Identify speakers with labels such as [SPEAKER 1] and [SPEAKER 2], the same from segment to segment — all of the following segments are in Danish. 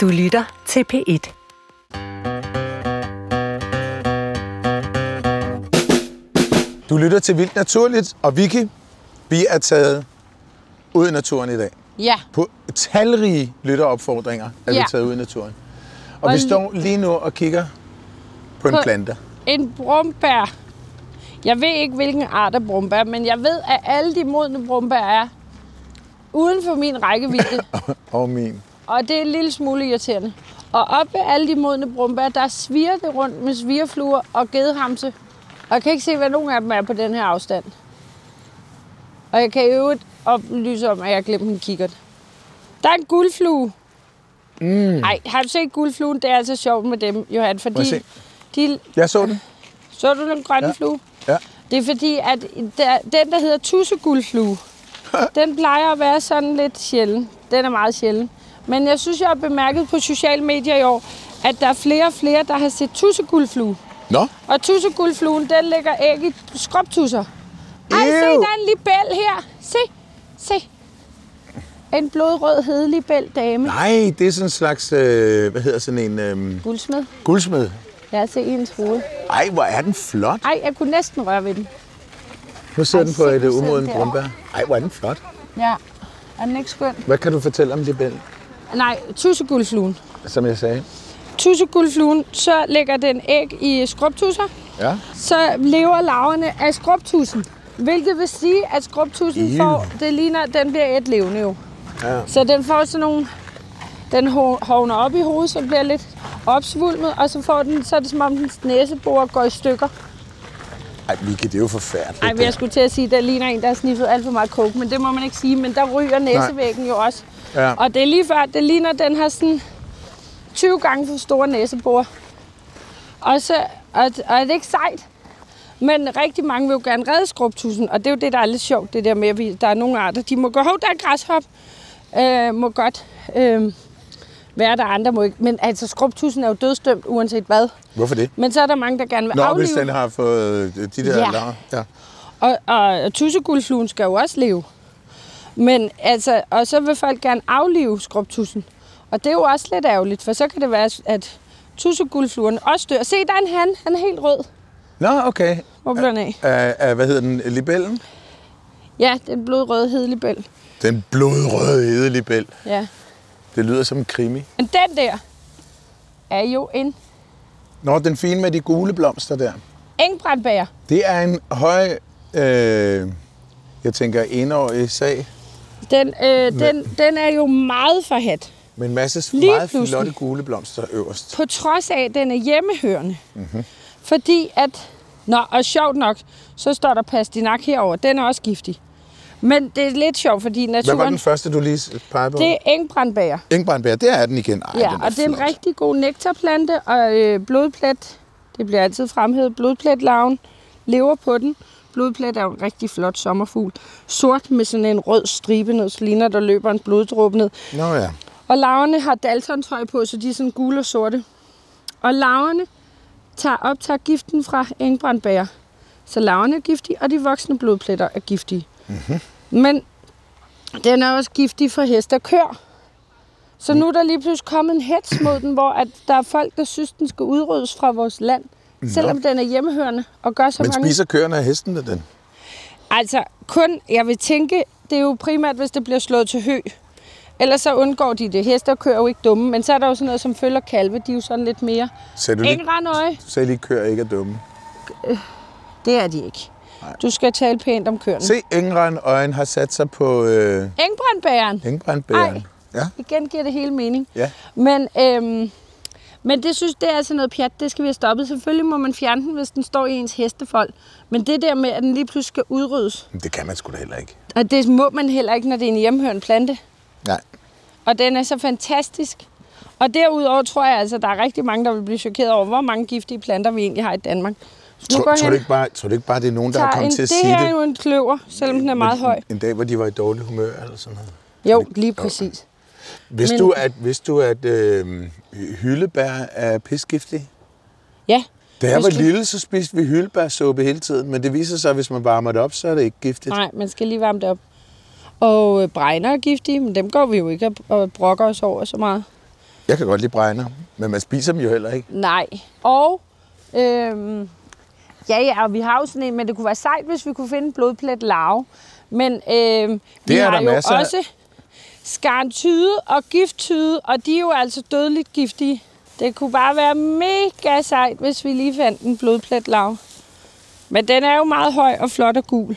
[SPEAKER 1] Du lytter til P1.
[SPEAKER 2] Du lytter til Vildt Naturligt, og Vicky, vi er taget ud i naturen i dag.
[SPEAKER 3] Ja,
[SPEAKER 2] På talrige lytteropfordringer er vi
[SPEAKER 3] Ja.
[SPEAKER 2] taget ud i naturen. Og,
[SPEAKER 3] Og
[SPEAKER 2] vi
[SPEAKER 3] li-
[SPEAKER 2] står lige nu og kigger på en
[SPEAKER 3] På-
[SPEAKER 2] plante.
[SPEAKER 3] en brumbær. Jeg ved ikke, hvilken art af brumbær, men jeg ved, at alle de modne brumbær er uden for min rækkevidde,
[SPEAKER 2] Og min.
[SPEAKER 3] og det er en lille smule irriterende. Og op ved alle de modne brumbær, der sviger det rundt med svigerfluer og gedehamse. Og jeg kan ikke se, hvad nogen af dem er på den her afstand. Og jeg kan i øvrigt oplyse om, at jeg glemte min kikkert. Der er en guldflue. Nej, mm. har du set guldfluen? Det er altså sjovt med dem, Johan,
[SPEAKER 2] jeg
[SPEAKER 3] fordi
[SPEAKER 2] se?
[SPEAKER 3] de
[SPEAKER 2] Jeg så den.
[SPEAKER 3] Så du den
[SPEAKER 2] Ja.
[SPEAKER 3] grønne ja. flue?
[SPEAKER 2] Ja.
[SPEAKER 3] Det er fordi, at der, den, der hedder tusseguldflue, den plejer at være sådan lidt sjælden. Den er meget sjælden. Men jeg synes, jeg har bemærket på sociale medier i år, at der er flere og flere, der har set tusseguldflue.
[SPEAKER 2] Nå,
[SPEAKER 3] Og tusseguldfluen, den lægger æg i skrubtusser. Ej, se,
[SPEAKER 2] Ew.
[SPEAKER 3] der er en libel her. Se, se. En blodrød hedlibel dame.
[SPEAKER 2] nej, det er sådan en slags, øh, hvad hedder sådan en øh,
[SPEAKER 3] Guldsmed.
[SPEAKER 2] guldsmed.
[SPEAKER 3] Lad os se hendes hoved.
[SPEAKER 2] Ej, hvor er den flot.
[SPEAKER 3] Ej, jeg kunne næsten røre ved den.
[SPEAKER 2] Nu sidder den på
[SPEAKER 3] se,
[SPEAKER 2] et
[SPEAKER 3] nu
[SPEAKER 2] øh,
[SPEAKER 3] sidder den
[SPEAKER 2] umodent
[SPEAKER 3] derovre.
[SPEAKER 2] brumbær. Ej, hvor er den flot.
[SPEAKER 3] Ja. Er den ikke skøn?
[SPEAKER 2] Hvad kan du fortælle om libellen,
[SPEAKER 3] Nej, tusseguldfluen.
[SPEAKER 2] som jeg sagde?
[SPEAKER 3] Tusseguldfluen, så lægger den æg i skrubtusser.
[SPEAKER 2] Ja.
[SPEAKER 3] Så lever larverne af skrubtussen. Hvilket vil sige, at skrubtussen
[SPEAKER 2] Ew.
[SPEAKER 3] får, det ligner, den bliver et levende jo.
[SPEAKER 2] Ja.
[SPEAKER 3] Så den får sådan nogle, den ho- hovner op i hovedet, så bliver lidt opsvulmet, og så får den, så er det som om dens næsebor går i stykker.
[SPEAKER 2] Ej, Vicky, det er jo forfærdeligt.
[SPEAKER 3] Ej, men jeg
[SPEAKER 2] det.
[SPEAKER 3] skulle til at sige, at der ligner en, der har sniffet alt for meget coke, men det må man ikke sige, men der ryger næsevæggen jo også.
[SPEAKER 2] Ja.
[SPEAKER 3] Og det er lige før, det ligner, at den har sådan 20 gange for store næsebor. Og, så, og, og er det ikke sejt? Men rigtig mange vil jo gerne redde skrubtusen, og det er jo det, der er lidt sjovt, det der med, at vi, der er nogle arter, de må gå, hov, der er græshop, øh, må godt øh, være der, andre må ikke. Men altså, skrubtusen er jo dødstømt, uanset hvad.
[SPEAKER 2] Hvorfor det?
[SPEAKER 3] Men så er der mange, der gerne vil
[SPEAKER 2] Nå,
[SPEAKER 3] aflive
[SPEAKER 2] hvis den har fået øh, de der
[SPEAKER 3] Ja.
[SPEAKER 2] larver. Ja.
[SPEAKER 3] Og, og tusseguldfluen skal jo også leve. Men altså, og så vil folk gerne aflive skrubtussen. Og det er jo også lidt ærgerligt, for så kan det være, at tusseguldfluen også dør. Se, der er en han. Han er helt rød.
[SPEAKER 2] Nå, okay.
[SPEAKER 3] Hvor blev den af?
[SPEAKER 2] Af, af, hvad hedder den? Libellen?
[SPEAKER 3] Ja, den blodrøde hedlibæl.
[SPEAKER 2] Den blodrøde hedelibel.
[SPEAKER 3] Ja.
[SPEAKER 2] Det lyder som en krimi.
[SPEAKER 3] Men den der er jo en
[SPEAKER 2] Nå, den fine med de gule blomster der.
[SPEAKER 3] engbrandbær.
[SPEAKER 2] Det er en høj, øh, jeg tænker, enårig sag
[SPEAKER 3] Den, øh, den, den er jo meget forhat.
[SPEAKER 2] med en masse
[SPEAKER 3] Lige
[SPEAKER 2] meget
[SPEAKER 3] pludselig.
[SPEAKER 2] flotte gule blomster øverst.
[SPEAKER 3] på trods af, at den er hjemmehørende. Mm-hmm.
[SPEAKER 2] Mhm.
[SPEAKER 3] Fordi at, nå, og sjovt nok, så står der pastinak herover. Den er også giftig. Men det er lidt sjovt, fordi
[SPEAKER 2] Hvad var
[SPEAKER 3] naturen...
[SPEAKER 2] den første, du lige pegede på?
[SPEAKER 3] det er engbrandbær.
[SPEAKER 2] Engbrandbær, der er den igen. Ej,
[SPEAKER 3] Ja,
[SPEAKER 2] den
[SPEAKER 3] og det er en
[SPEAKER 2] flot.
[SPEAKER 3] rigtig god nektarplante, og øh, blodplet, det bliver altid fremhævet, blodpletlarven lever på den. Blodplet er jo en rigtig flot sommerfugl. Sort med sådan en rød stribe ned, så ligner der løber en bloddråbe ned.
[SPEAKER 2] Nå ja.
[SPEAKER 3] Og larverne har daltontøj på, så de er sådan gule og sorte. Og larverne tager, optager giften fra engbrandbær. Så larverne er giftige, og de voksne blodpletter er giftige. Mm-hmm. Men den er også giftig for hest og kør. Så nu er der lige pludselig kommet en hets mod den, hvor at der er folk, der synes, den skal udryddes fra vores land. Selvom den er hjemmehørende og gør så
[SPEAKER 2] Men
[SPEAKER 3] mange...
[SPEAKER 2] spiser køerne af hesten den?
[SPEAKER 3] Altså, kun, jeg vil tænke, det er jo primært, hvis det bliver slået til hø. Ellers så undgår de det. Hester kører jo ikke dumme, men så er der jo sådan noget som følger kalve, de er jo sådan lidt mere.
[SPEAKER 2] Sagde du lige,
[SPEAKER 3] Ingen rendøje.
[SPEAKER 2] sagde lige køer ikke er dumme.
[SPEAKER 3] Det er de ikke. Du skal tale pænt om køerne.
[SPEAKER 2] Se, Engren øjen har sat sig på øh,
[SPEAKER 3] Engbrandbæren.
[SPEAKER 2] engbrandbæren.
[SPEAKER 3] Ej.
[SPEAKER 2] Ja,
[SPEAKER 3] Igen giver det hele mening.
[SPEAKER 2] ja.
[SPEAKER 3] Men, øhm, men det synes det er altså noget pjat, det skal vi have stoppet. Selvfølgelig må man fjerne den, hvis den står i ens hestefold. Men det der med, at den lige pludselig skal udryddes,
[SPEAKER 2] Men det kan man sgu da heller ikke.
[SPEAKER 3] og det må man heller ikke, når det er en hjemhørende plante.
[SPEAKER 2] Nej.
[SPEAKER 3] Og den er så fantastisk. Og derudover tror jeg altså, at der er rigtig mange, der vil blive chokeret over, hvor mange giftige planter vi egentlig har i Danmark. Så nu
[SPEAKER 2] Tror,
[SPEAKER 3] går
[SPEAKER 2] tror,
[SPEAKER 3] hen
[SPEAKER 2] du ikke bare, tror du ikke bare, det er nogen, der har
[SPEAKER 3] tager en,
[SPEAKER 2] kommet til at
[SPEAKER 3] det
[SPEAKER 2] sige
[SPEAKER 3] her er
[SPEAKER 2] det?
[SPEAKER 3] jo en kløver, selvom den er meget høj.
[SPEAKER 2] En dag, hvor de var i dårlig humør eller sådan noget.
[SPEAKER 3] Jo, lige præcis.
[SPEAKER 2] Vidste
[SPEAKER 3] Men-
[SPEAKER 2] du, at, vidste du, at øh, hyldebær er pisgiftig?
[SPEAKER 3] Ja.
[SPEAKER 2] Da jeg
[SPEAKER 3] Hvis
[SPEAKER 2] var
[SPEAKER 3] du-
[SPEAKER 2] lille, så spiste vi hyldebærsuppe hele tiden, men det viser sig, at hvis man varmer det op, så er det ikke giftigt.
[SPEAKER 3] Nej, man skal lige varme det op. Og øh, bregner er giftige, men dem går vi jo ikke og- og brokker os over så meget.
[SPEAKER 2] Jeg kan godt lide bregner, men man spiser dem jo heller ikke.
[SPEAKER 3] Nej. Og, øhm, ja, ja, og vi har jo sådan en, men det kunne være sejt, hvis vi kunne finde en blodplet larve. Men øhm, vi
[SPEAKER 2] er
[SPEAKER 3] har
[SPEAKER 2] der
[SPEAKER 3] jo
[SPEAKER 2] masser af.
[SPEAKER 3] også skarntyde og gifttyde, og de er jo altså dødeligt giftige. Det kunne bare være mega sejt, hvis vi lige fandt en blodplet larve. Men den er jo meget høj og flot og gul.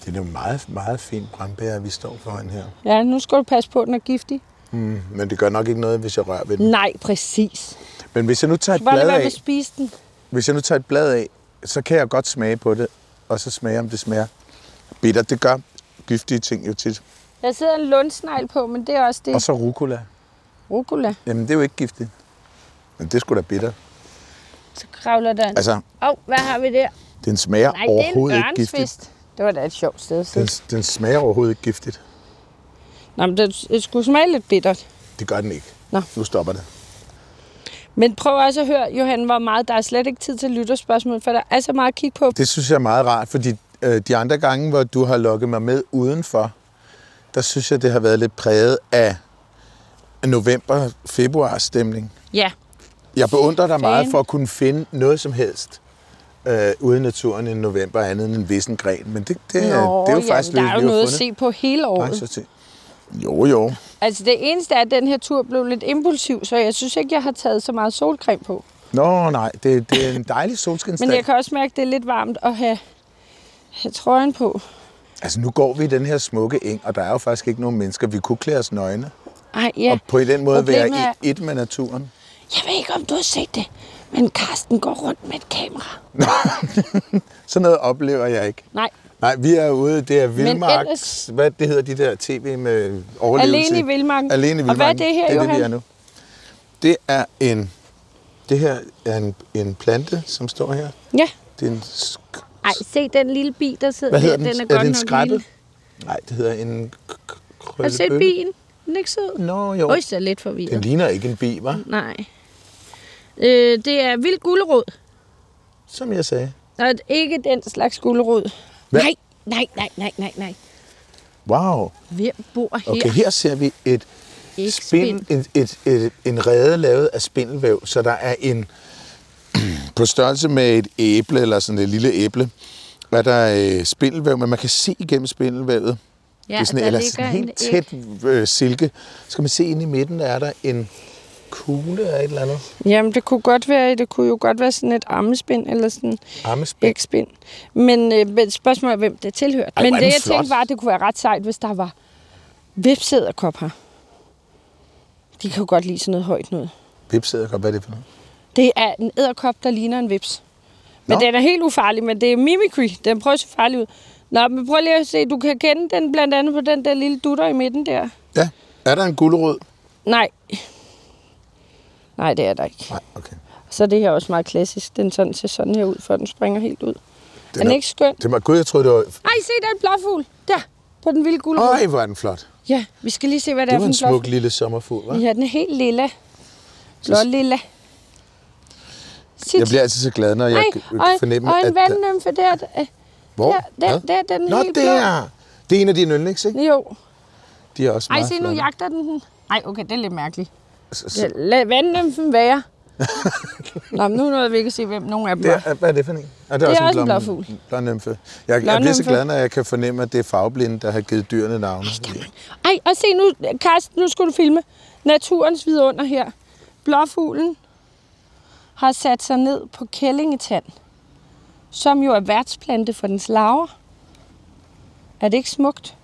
[SPEAKER 2] Det er nogle meget, meget fint brandbærer, vi står foran her.
[SPEAKER 3] Ja, nu skal du passe på, at den er giftig.
[SPEAKER 2] Mm, men det gør nok ikke noget, hvis jeg rører ved den.
[SPEAKER 3] Nej, præcis.
[SPEAKER 2] Men hvis jeg nu tager et
[SPEAKER 3] Mm. Bare lad
[SPEAKER 2] blad
[SPEAKER 3] være med
[SPEAKER 2] af,
[SPEAKER 3] at spise den.
[SPEAKER 2] hvis jeg nu tager et blad af, så kan jeg godt smage på det, og så smage, om det smager bitter. Det gør giftige ting jo tit.
[SPEAKER 3] Der sidder en lundsnegl på, men det er også
[SPEAKER 2] Og
[SPEAKER 3] det.
[SPEAKER 2] så rucola.
[SPEAKER 3] Rucola.
[SPEAKER 2] Jamen, det er jo ikke giftigt. Men det er sgu da bitter.
[SPEAKER 3] Så kravler den.
[SPEAKER 2] Altså,
[SPEAKER 3] Åh, oh, hvad har vi der?
[SPEAKER 2] den smager
[SPEAKER 3] Nej, det er en
[SPEAKER 2] overhovedet ikke giftigt.
[SPEAKER 3] ørnsvist. Det var da et sjovt sted at
[SPEAKER 2] Den,
[SPEAKER 3] sidde.
[SPEAKER 2] den smager overhovedet ikke giftigt.
[SPEAKER 3] Nå, men det, det skulle smage lidt bittert.
[SPEAKER 2] Det gør den ikke.
[SPEAKER 3] Nå.
[SPEAKER 2] Nu stopper det.
[SPEAKER 3] Men prøv også at høre, Johan, hvor meget der er slet ikke tid til lytterspørgsmål, for der er så meget at kigge på.
[SPEAKER 2] Det synes jeg er meget rart, fordi øh, de andre gange, hvor du har lukket mig med udenfor, der synes jeg, det har været lidt præget af november-februar stemning.
[SPEAKER 3] Ja.
[SPEAKER 2] Jeg beundrer dig meget
[SPEAKER 3] Fan.
[SPEAKER 2] for at kunne finde noget som helst øh, ude i naturen i november, andet end en vissen gren. Men det, det, er- det er jo faktisk
[SPEAKER 3] der er
[SPEAKER 2] vi
[SPEAKER 3] jo
[SPEAKER 2] har
[SPEAKER 3] noget at
[SPEAKER 2] fundet.
[SPEAKER 3] se på hele året.
[SPEAKER 2] Nej, så til. Jo, jo.
[SPEAKER 3] Altså det eneste er, at den her tur blev lidt impulsiv, så jeg synes ikke, jeg har taget så meget solcreme på.
[SPEAKER 2] Nå, nej, det, det er en dejlig
[SPEAKER 3] Men jeg
[SPEAKER 2] solskinsdag. Kan...
[SPEAKER 3] kan også mærke, at det er lidt varmt at have, have trøjen på.
[SPEAKER 2] Altså, nu går vi i den her smukke eng, og der er jo faktisk ikke nogen mennesker. Vi kunne klæde os nøgne.
[SPEAKER 3] Ej, ja.
[SPEAKER 2] Og på den måde
[SPEAKER 3] Problemet
[SPEAKER 2] være
[SPEAKER 3] er-
[SPEAKER 2] i, et med naturen.
[SPEAKER 3] Jeg ved ikke, om du har set det, men Karsten går rundt med et kamera.
[SPEAKER 2] Sådan noget oplever jeg ikke.
[SPEAKER 3] Nej,
[SPEAKER 2] Nej, vi er ude, det er Vildmarks,
[SPEAKER 3] ellers-
[SPEAKER 2] hvad det hedder de der tv med overlevelse?
[SPEAKER 3] Alene i vildmarken.
[SPEAKER 2] Alene i Vildmarken.
[SPEAKER 3] Og hvad er det her,
[SPEAKER 2] det er det, vi
[SPEAKER 3] Johan?
[SPEAKER 2] er nu. Det er en, det her er en, en plante, som står her.
[SPEAKER 3] ja.
[SPEAKER 2] Det er en, sk-
[SPEAKER 3] Ej, se den lille bi, der sidder
[SPEAKER 2] hvad hedder
[SPEAKER 3] der.
[SPEAKER 2] den?
[SPEAKER 3] Den er, godt
[SPEAKER 2] det en
[SPEAKER 3] nok
[SPEAKER 2] skræppe?
[SPEAKER 3] lille.
[SPEAKER 2] Nej, det hedder en k- k-
[SPEAKER 3] Har du set
[SPEAKER 2] krøllebøtte.
[SPEAKER 3] bien? Er Den er ikke sød?
[SPEAKER 2] Nå, jo.
[SPEAKER 3] Øj, så er lidt
[SPEAKER 2] Den
[SPEAKER 3] forvirret.
[SPEAKER 2] ligner ikke en bi, var?
[SPEAKER 3] Nej. Øh, det er vild gulerod.
[SPEAKER 2] Som jeg sagde.
[SPEAKER 3] Og ikke den slags gulerod.
[SPEAKER 2] Hvad?
[SPEAKER 3] Nej, nej, nej, nej, nej, nej.
[SPEAKER 2] Wow.
[SPEAKER 3] Hvem bor her?
[SPEAKER 2] Okay, her ser vi et
[SPEAKER 3] Ikke
[SPEAKER 2] spind, et, et, et, en rede lavet af spindelvæv, så der er en på størrelse med et æble, eller sådan et lille æble, er der øh, spindelvæv, men man kan se igennem spindelvævet.
[SPEAKER 3] Ja,
[SPEAKER 2] det er sådan,
[SPEAKER 3] der
[SPEAKER 2] eller
[SPEAKER 3] ligger
[SPEAKER 2] sådan
[SPEAKER 3] en
[SPEAKER 2] helt tæt øh, silke. Så kan man se, inde i midten er der en kugle af et eller andet
[SPEAKER 3] Jamen, det kunne godt være, det kunne jo godt være sådan et armespind, eller sådan
[SPEAKER 2] armespind.
[SPEAKER 3] ægspind. Men, øh, men spørgsmålet er, hvem det tilhørte.
[SPEAKER 2] Ej,
[SPEAKER 3] men
[SPEAKER 2] hvor er
[SPEAKER 3] det,
[SPEAKER 2] den
[SPEAKER 3] jeg
[SPEAKER 2] flot.
[SPEAKER 3] tænkte, var, at det kunne være ret sejt, hvis der var vipsæderkop her. De kan jo godt lide sådan noget højt noget.
[SPEAKER 2] Vipsæder godt, hvad er det for noget?
[SPEAKER 3] Det er en æderkop, der ligner en vips. Men
[SPEAKER 2] Nå.
[SPEAKER 3] Nå. den er helt ufarlig, men det er mimicry. Den prøver at se farlig ud. Nå, men prøv lige at se. Du kan kende den blandt andet på den der lille dutter i midten der.
[SPEAKER 2] Ja, er der en gulerod?
[SPEAKER 3] Nej. Nej, det er der ikke.
[SPEAKER 2] Nej, okay.
[SPEAKER 3] Så er det her også meget klassisk. Den sådan ser sådan her ud, før den springer helt ud. Den er den ikke skøn?
[SPEAKER 2] Det var, gud, jeg troede, det var...
[SPEAKER 3] Ej, se, der er en blåfugl. Der, på den vilde gulerod.
[SPEAKER 2] Øj, hvor er den flot.
[SPEAKER 3] Ja, vi skal lige se, hvad det,
[SPEAKER 2] Det
[SPEAKER 3] er
[SPEAKER 2] var
[SPEAKER 3] for
[SPEAKER 2] en
[SPEAKER 3] en
[SPEAKER 2] smuk
[SPEAKER 3] blåfugl.
[SPEAKER 2] lille sommerfugl, hva'?
[SPEAKER 3] Ja, den er helt lilla. Blå lilla. Sit.
[SPEAKER 2] Jeg bliver altid så glad, når jeg
[SPEAKER 3] Ej, og,
[SPEAKER 2] Ej, fornemmer,
[SPEAKER 3] og en
[SPEAKER 2] at...
[SPEAKER 3] vandnymfe der. øh,
[SPEAKER 2] Hvor?
[SPEAKER 3] Der, der,
[SPEAKER 2] Hvad?
[SPEAKER 3] der, den er
[SPEAKER 2] Nå,
[SPEAKER 3] helt blå.
[SPEAKER 2] der! Det er en af dine yndlings, ikke?
[SPEAKER 3] Jo.
[SPEAKER 2] De er også
[SPEAKER 3] Ej,
[SPEAKER 2] meget
[SPEAKER 3] se, nu
[SPEAKER 2] flotte.
[SPEAKER 3] jagter den den. Ej, okay, det er lidt mærkeligt.
[SPEAKER 2] Så-
[SPEAKER 3] Ja,
[SPEAKER 2] så-
[SPEAKER 3] lad vandnymfen være. Nå, men nu nåede vi ikke at se, hvem nogen af dem
[SPEAKER 2] Det
[SPEAKER 3] var.
[SPEAKER 2] er, hvad er det for en? Ah, det
[SPEAKER 3] er
[SPEAKER 2] også en,
[SPEAKER 3] også en
[SPEAKER 2] blom-
[SPEAKER 3] blåfugl.
[SPEAKER 2] Blånymfe. Jeg, jeg bliver så
[SPEAKER 3] Blånymfe.
[SPEAKER 2] glad, når jeg kan fornemme, at det er farveblinde, der har givet dyrene navne.
[SPEAKER 3] Ej, og se nu, Karsten, nu skal du filme naturens vidunder her. Blåfuglen har sat sig ned på kællingetand, som jo er værtsplante for dens larver. Er det ikke smukt?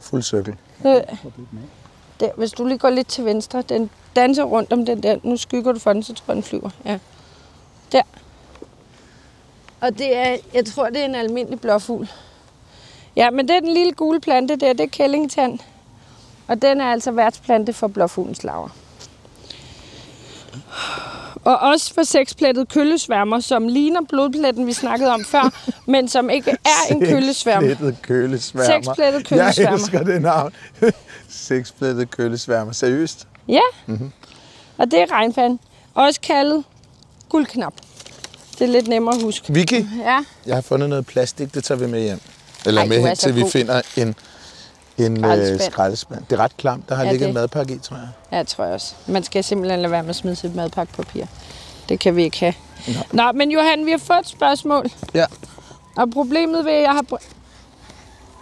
[SPEAKER 2] Fuld cirkel.
[SPEAKER 3] Øh, Der, hvis du lige går lidt til venstre, den danser rundt om den der. Nu skygger du for den, så tror jeg, den flyver. Ja. Der. Og det er, jeg tror, det er en almindelig blåfugl. Ja, men det er den lille gule plante der, det er kællingetand. Og den er altså værtsplante for blåfuglens laver. Og også for seksplettet køllesværmer, som ligner blodpletten, vi snakkede om før, men som ikke er en køllesværmer.
[SPEAKER 2] Seksplettet køllesværmer.
[SPEAKER 3] Seksplettet
[SPEAKER 2] Jeg
[SPEAKER 3] køllesværmer.
[SPEAKER 2] elsker det navn. Seksplettet køllesværmer. Seriøst?
[SPEAKER 3] Ja. Mm-hmm. Og det er regnfanden. Også kaldet guldknap. Det er lidt nemmere at huske.
[SPEAKER 2] Vicky,
[SPEAKER 3] Ja.
[SPEAKER 2] jeg har fundet noget plastik, det tager vi med hjem. Eller
[SPEAKER 3] Ej,
[SPEAKER 2] med
[SPEAKER 3] du er
[SPEAKER 2] hen,
[SPEAKER 3] så
[SPEAKER 2] til vi
[SPEAKER 3] god.
[SPEAKER 2] finder en En skraldespand.
[SPEAKER 3] Skraldespand.
[SPEAKER 2] skraldespand. Det er ret klamt, der har
[SPEAKER 3] Ja,
[SPEAKER 2] ligget
[SPEAKER 3] det-
[SPEAKER 2] en madpakke i, tror jeg.
[SPEAKER 3] Ja, det tror jeg også. Man skal simpelthen lade være med at smide sit madpakkepapir. Det kan vi ikke have. Nå. Nå, men Johan, vi har fået et spørgsmål.
[SPEAKER 2] Ja.
[SPEAKER 3] Og problemet ved, at jeg har... br-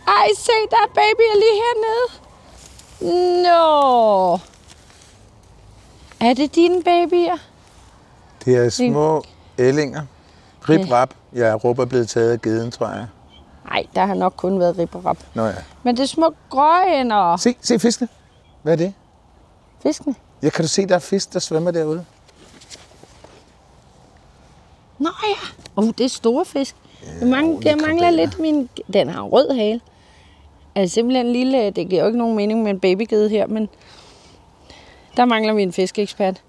[SPEAKER 3] Ej, se, der er babyer lige hernede. Nå. Er det dine babyer?
[SPEAKER 2] Det er små ællinger. Rip rap. Ja, Rup er blevet taget af geden, tror jeg.
[SPEAKER 3] Nej, der har nok kun været rip og rap.
[SPEAKER 2] Nå ja.
[SPEAKER 3] Men det er små grønner.
[SPEAKER 2] Se, se fiskene. Hvad er det?
[SPEAKER 3] Fiskene.
[SPEAKER 2] Ja, kan du se, der er fisk, der svømmer derude?
[SPEAKER 3] Nå ja. Uh, det er store fisk. Ja, mange, jeg mangler lidt min... Den har en rød hale. Altså simpelthen en lille... Det giver jo ikke nogen mening med en babygede her, men... Der mangler vi en fiskeekspert.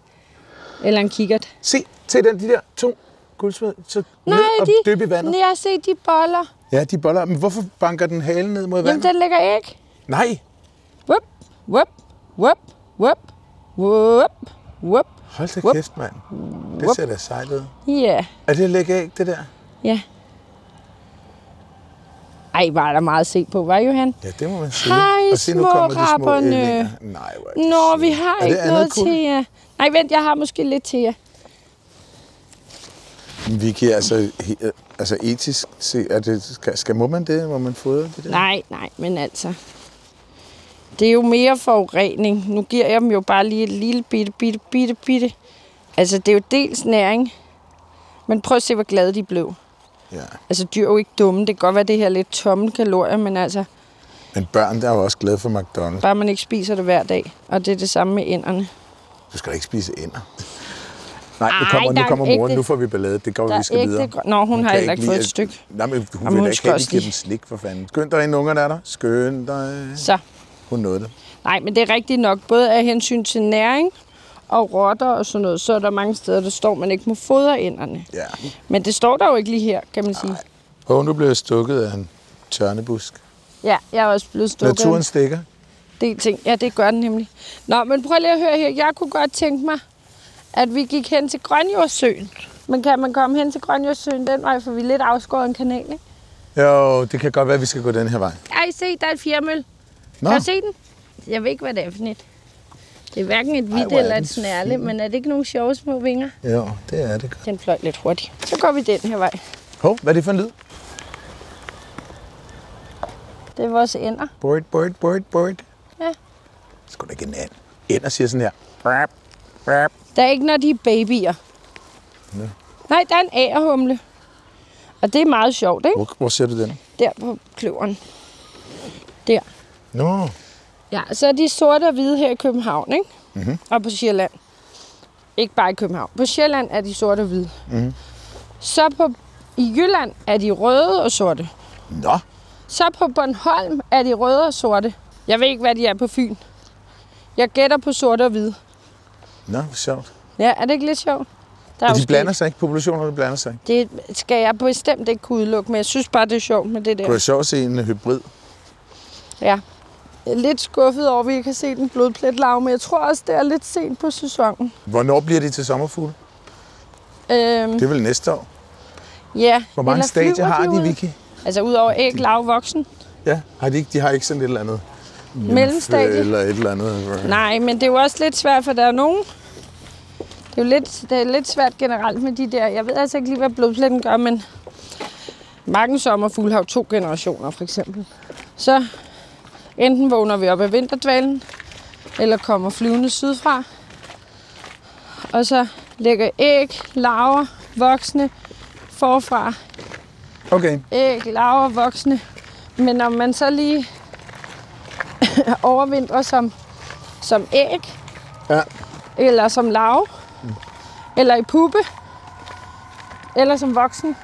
[SPEAKER 3] Eller en kikkert.
[SPEAKER 2] Se, se den, de der to guldsmed, så ned og
[SPEAKER 3] de,
[SPEAKER 2] dyppe i vandet.
[SPEAKER 3] Jeg har set de boller.
[SPEAKER 2] Ja, de boller. Men hvorfor banker den halen ned mod
[SPEAKER 3] Jamen,
[SPEAKER 2] vandet?
[SPEAKER 3] den ligger æg.
[SPEAKER 2] Nej,
[SPEAKER 3] Wup, wup, wup, wup, wup, wup.
[SPEAKER 2] hold da
[SPEAKER 3] Whoop.
[SPEAKER 2] kæft, mand. Det
[SPEAKER 3] Whoop.
[SPEAKER 2] ser da sejt ud.
[SPEAKER 3] Ja,
[SPEAKER 2] Er det læg æg, det der?
[SPEAKER 3] ja. Ej, var der meget at se på, var Johan?
[SPEAKER 2] Ja, det må man sige.
[SPEAKER 3] Hej,
[SPEAKER 2] og se, nu
[SPEAKER 3] små
[SPEAKER 2] kommer de små
[SPEAKER 3] rapperne.
[SPEAKER 2] ællinger. Nej, hvor er de
[SPEAKER 3] Nå,
[SPEAKER 2] søde.
[SPEAKER 3] vi har
[SPEAKER 2] er det
[SPEAKER 3] ikke
[SPEAKER 2] andet
[SPEAKER 3] noget
[SPEAKER 2] kul?
[SPEAKER 3] til jer. Nej, vent, jeg har måske lidt til jer.
[SPEAKER 2] Vi kan altså, he- øh, altså etisk se, er det, skal, skal, må man det? Må man fodre det der?
[SPEAKER 3] Nej, nej, men altså. Det er jo mere forurening. Nu giver jeg dem jo bare lige et lille bitte, bitte, bitte, bitte. Altså, det er jo dels næring, men prøv at se, hvor glade de blev.
[SPEAKER 2] Ja.
[SPEAKER 3] Altså, dyr er jo ikke dumme. Det kan godt være, det her er lidt tomme kalorier, men altså,
[SPEAKER 2] Men børn der er jo også glade for McDonald's.
[SPEAKER 3] bare man ikke spiser det hver dag. Og det er det samme med ænderne.
[SPEAKER 2] Du skal da ikke spise ender. Nej, nu
[SPEAKER 3] Ej,
[SPEAKER 2] kommer,
[SPEAKER 3] der
[SPEAKER 2] nu
[SPEAKER 3] er
[SPEAKER 2] kommer
[SPEAKER 3] ægte-
[SPEAKER 2] moren. Nu får vi ballade. Det går,
[SPEAKER 3] der
[SPEAKER 2] vi skal
[SPEAKER 3] er ægte
[SPEAKER 2] videre.
[SPEAKER 3] grøn- Nå, hun har
[SPEAKER 2] kan
[SPEAKER 3] heller ikke fået
[SPEAKER 2] lide-
[SPEAKER 3] et stykke.
[SPEAKER 2] Nej, men hun
[SPEAKER 3] hun
[SPEAKER 2] vil da ikke
[SPEAKER 3] skal
[SPEAKER 2] have, at
[SPEAKER 3] også
[SPEAKER 2] vi giver
[SPEAKER 3] lige-
[SPEAKER 2] dem slik, for fanden. Skynd dig ind, unger, der er der. Skynd dig.
[SPEAKER 3] Så,
[SPEAKER 2] Hun nåede det.
[SPEAKER 3] nej, men det er rigtigt nok. Både af hensyn til næring og rotter og sådan noget, så er der mange steder, der står, man ikke må fodre ænderne.
[SPEAKER 2] Ja.
[SPEAKER 3] Men det står der jo ikke lige her, kan man sige.
[SPEAKER 2] Og nu blev jeg stukket af en tørnebusk.
[SPEAKER 3] Ja, jeg er også blevet stukket. af en
[SPEAKER 2] Naturen stikker.
[SPEAKER 3] del ting. Ja, det gør den nemlig. Nå, men prøv lige at høre her. Jeg kunne godt tænke mig, at vi gik hen til Grønjordsøen. Men kan man komme hen til Grønjordsøen den vej, for vi er lidt afskåret en kanal, ikke?
[SPEAKER 2] Jo, det kan godt være, at vi skal gå den her vej.
[SPEAKER 3] Ej, se, der er et fjermøl.
[SPEAKER 2] Nå,
[SPEAKER 3] Kan du se den? Jeg ved ikke, hvad det er for et. Det er hverken et
[SPEAKER 2] hvor
[SPEAKER 3] hvidt
[SPEAKER 2] er
[SPEAKER 3] eller
[SPEAKER 2] den
[SPEAKER 3] et snærle, men er det ikke nogle sjove små vinger?
[SPEAKER 2] jo, det er det godt.
[SPEAKER 3] Den fløj lidt hurtigt. Så går vi den her vej.
[SPEAKER 2] Hov, hvad er det for en lyd?
[SPEAKER 3] Det er vores ender.
[SPEAKER 2] Board, board, board, board.
[SPEAKER 3] Ja.
[SPEAKER 2] Sgu da ikke en and. Ender siger sådan her. Brap, brap.
[SPEAKER 3] Der er ikke, når de er babyer. Nej, der er en agerhumle. Og det er meget sjovt, ikke?
[SPEAKER 2] Hvor, hvor ser du den?
[SPEAKER 3] Der på kløveren. Der.
[SPEAKER 2] Nå,
[SPEAKER 3] Ja, så er de sorte og hvide her i København, ikke?
[SPEAKER 2] Mhm.
[SPEAKER 3] Mm-hmm. Og på Sjælland. Ikke bare i København. På Sjælland er de sorte og hvide. Mm-hmm.
[SPEAKER 2] Mhm.
[SPEAKER 3] Så på, i Jylland er de røde og sorte.
[SPEAKER 2] nå.
[SPEAKER 3] Så på Bornholm er de røde og sorte. Jeg ved ikke, hvad de er på Fyn. Jeg gætter på sorte og hvide.
[SPEAKER 2] Nå, hvor sjovt.
[SPEAKER 3] Ja, er det ikke lidt sjovt? Der
[SPEAKER 2] Og
[SPEAKER 3] jo
[SPEAKER 2] de
[SPEAKER 3] sket-
[SPEAKER 2] blander sig ikke. Populationerne blander sig ikke.
[SPEAKER 3] Det skal jeg bestemt ikke kunne udelukke, men jeg synes bare, det er sjovt med det
[SPEAKER 2] Det kunne
[SPEAKER 3] der.
[SPEAKER 2] være sjovt at se en øh, hybrid.
[SPEAKER 3] Ja. Jeg er lidt skuffet over, at vi ikke har set en blodplet lav, men jeg tror også, det er lidt sent på sæsonen.
[SPEAKER 2] Hvornår bliver de til sommerfugle?
[SPEAKER 3] Øhm,
[SPEAKER 2] Det er vel næste år.
[SPEAKER 3] Ja.
[SPEAKER 2] Hvor mange
[SPEAKER 3] eller
[SPEAKER 2] stadier
[SPEAKER 3] flyver
[SPEAKER 2] har de,
[SPEAKER 3] ud?
[SPEAKER 2] Vicky?
[SPEAKER 3] Altså udover æg, lav, voksen.
[SPEAKER 2] Ja, har de, ikke, de har ikke sådan et eller andet.
[SPEAKER 3] Mellemstadie?
[SPEAKER 2] Eller et eller andet.
[SPEAKER 3] Nej, men det er jo også lidt svært, for der er nogen... Det er jo lidt, det er lidt svært generelt med de der... Jeg ved altså ikke lige, hvad blodpletten gør, men... Mange sommerfugle har jo to generationer, for eksempel. Så enten vågner vi op af vinterdvalen, eller kommer flyvende sydfra. Og så lægger æg, larver, voksne forfra.
[SPEAKER 2] Okay,
[SPEAKER 3] æg, larver, voksne. Men når man så lige overvintrer som, som æg,
[SPEAKER 2] Ja. Mm.
[SPEAKER 3] eller som larve, eller i puppe, eller som voksen,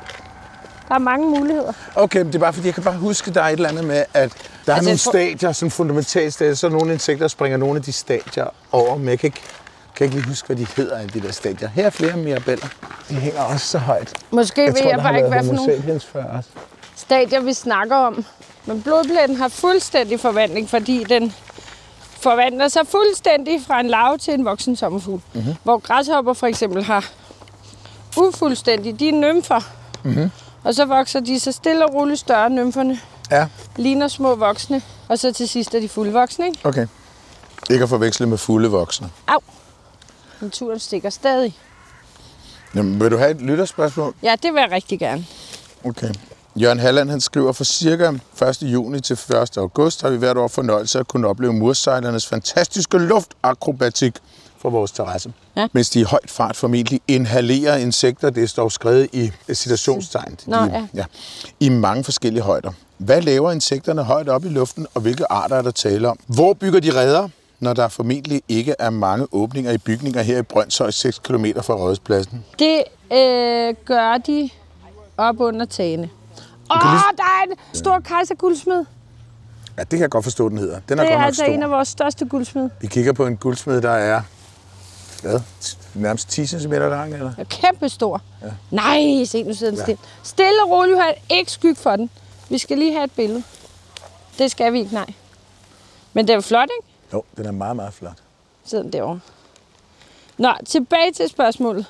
[SPEAKER 3] der er mange muligheder.
[SPEAKER 2] okay, men det er bare fordi, jeg kan bare huske, der er et eller andet med, at der er
[SPEAKER 3] jeg
[SPEAKER 2] altså, nogle
[SPEAKER 3] tror-
[SPEAKER 2] stadier, sådan fundamentale stadier, så er nogle insekter, der springer nogle af de stadier over, men jeg kan ikke, kan ikke lige huske, hvad de hedder af de der stadier. Her er flere mirabeller. De hænger også så højt.
[SPEAKER 3] Måske jeg ved
[SPEAKER 2] tror,
[SPEAKER 3] jeg
[SPEAKER 2] der har
[SPEAKER 3] bare ikke,
[SPEAKER 2] været
[SPEAKER 3] hvad for
[SPEAKER 2] homo
[SPEAKER 3] nogle
[SPEAKER 2] sapiens før også.
[SPEAKER 3] stadier vi snakker om. Men blodpletten har fuldstændig forvandling, fordi den forvandler sig fuldstændig fra en larve til en voksen sommerfugl. Mm-hmm. Hvor græshopper for eksempel har ufuldstændig, de er nymfer. Mm-hmm. Og så vokser de så stille og roligt større, nymferne
[SPEAKER 2] Ja,
[SPEAKER 3] ligner små voksne. Og så til sidst er de fuldvoksne, ikke?
[SPEAKER 2] Okay. Ikke at forveksle med fulde voksne.
[SPEAKER 3] Au! Naturen stikker stadig.
[SPEAKER 2] Jamen, vil du have et lytterspørgsmål?
[SPEAKER 3] Ja, det vil jeg rigtig gerne.
[SPEAKER 2] Okay. Jørgen Halland han skriver, for cirka 1. juni til 1. august har vi hvert år fornøjelse at kunne opleve mursejlernes fantastiske luftakrobatik fra vores terrasse.
[SPEAKER 3] Ja.
[SPEAKER 2] Mens de i højt fart formentlig inhalerer insekter, det står skrevet i citationstegn,
[SPEAKER 3] Nå,
[SPEAKER 2] i,
[SPEAKER 3] ja.
[SPEAKER 2] Ja, i mange forskellige højder. Hvad laver insekterne højt op i luften, og hvilke arter er der tale om? Hvor bygger de redder, når der formentlig ikke er mange åbninger i bygninger her i Brøndshøj, 6 km fra Rådhuspladsen?
[SPEAKER 3] Det øh, gør de op under tagene. Åh,
[SPEAKER 2] kan
[SPEAKER 3] oh, der er en stor kejserguldsmed.
[SPEAKER 2] Ja, det kan jeg godt forstå, den hedder. Den er,
[SPEAKER 3] Det
[SPEAKER 2] godt
[SPEAKER 3] er
[SPEAKER 2] nok
[SPEAKER 3] altså
[SPEAKER 2] stor.
[SPEAKER 3] en af vores største guldsmed.
[SPEAKER 2] Vi kigger på en guldsmed, der er hvad, t- nærmest 10 cm lang, eller?
[SPEAKER 3] Den er kæmpestor. Ja. Nej, se, nu sidder den stille. Stille og roligt, Johan. Ikke skyg for den. Vi skal lige have et billede. Det skal vi ikke, nej. Men det er jo flot, ikke?
[SPEAKER 2] Jo, den er meget, meget flot.
[SPEAKER 3] Sidder den derovre. Nå, tilbage til spørgsmålet.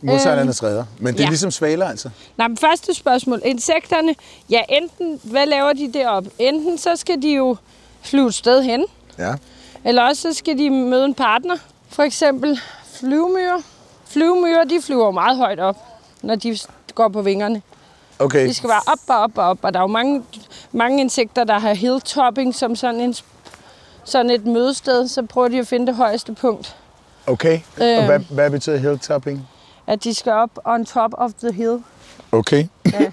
[SPEAKER 2] Modsejlernes redder. Men det er
[SPEAKER 3] Øhm, ja.
[SPEAKER 2] ligesom svaler, altså.
[SPEAKER 3] Nej, men første spørgsmål. Insekterne, ja enten, hvad laver de deroppe? Enten så skal de jo flyve et sted hen,
[SPEAKER 2] Ja.
[SPEAKER 3] eller også så skal de møde en partner. For eksempel flyvemyrer. Flyvemyrer, de flyver jo meget højt op, når de går på vingerne.
[SPEAKER 2] Okay,
[SPEAKER 3] De skal bare op og op og op, og der er jo mange, mange insekter, der har hilltopping som sådan, en, sådan et mødested. Så prøver de at finde det højeste punkt.
[SPEAKER 2] okay. Og
[SPEAKER 3] Øhm.
[SPEAKER 2] hvad, hvad betyder hilltopping?
[SPEAKER 3] At de skal op on top of the hill.
[SPEAKER 2] Okay.
[SPEAKER 3] Ja.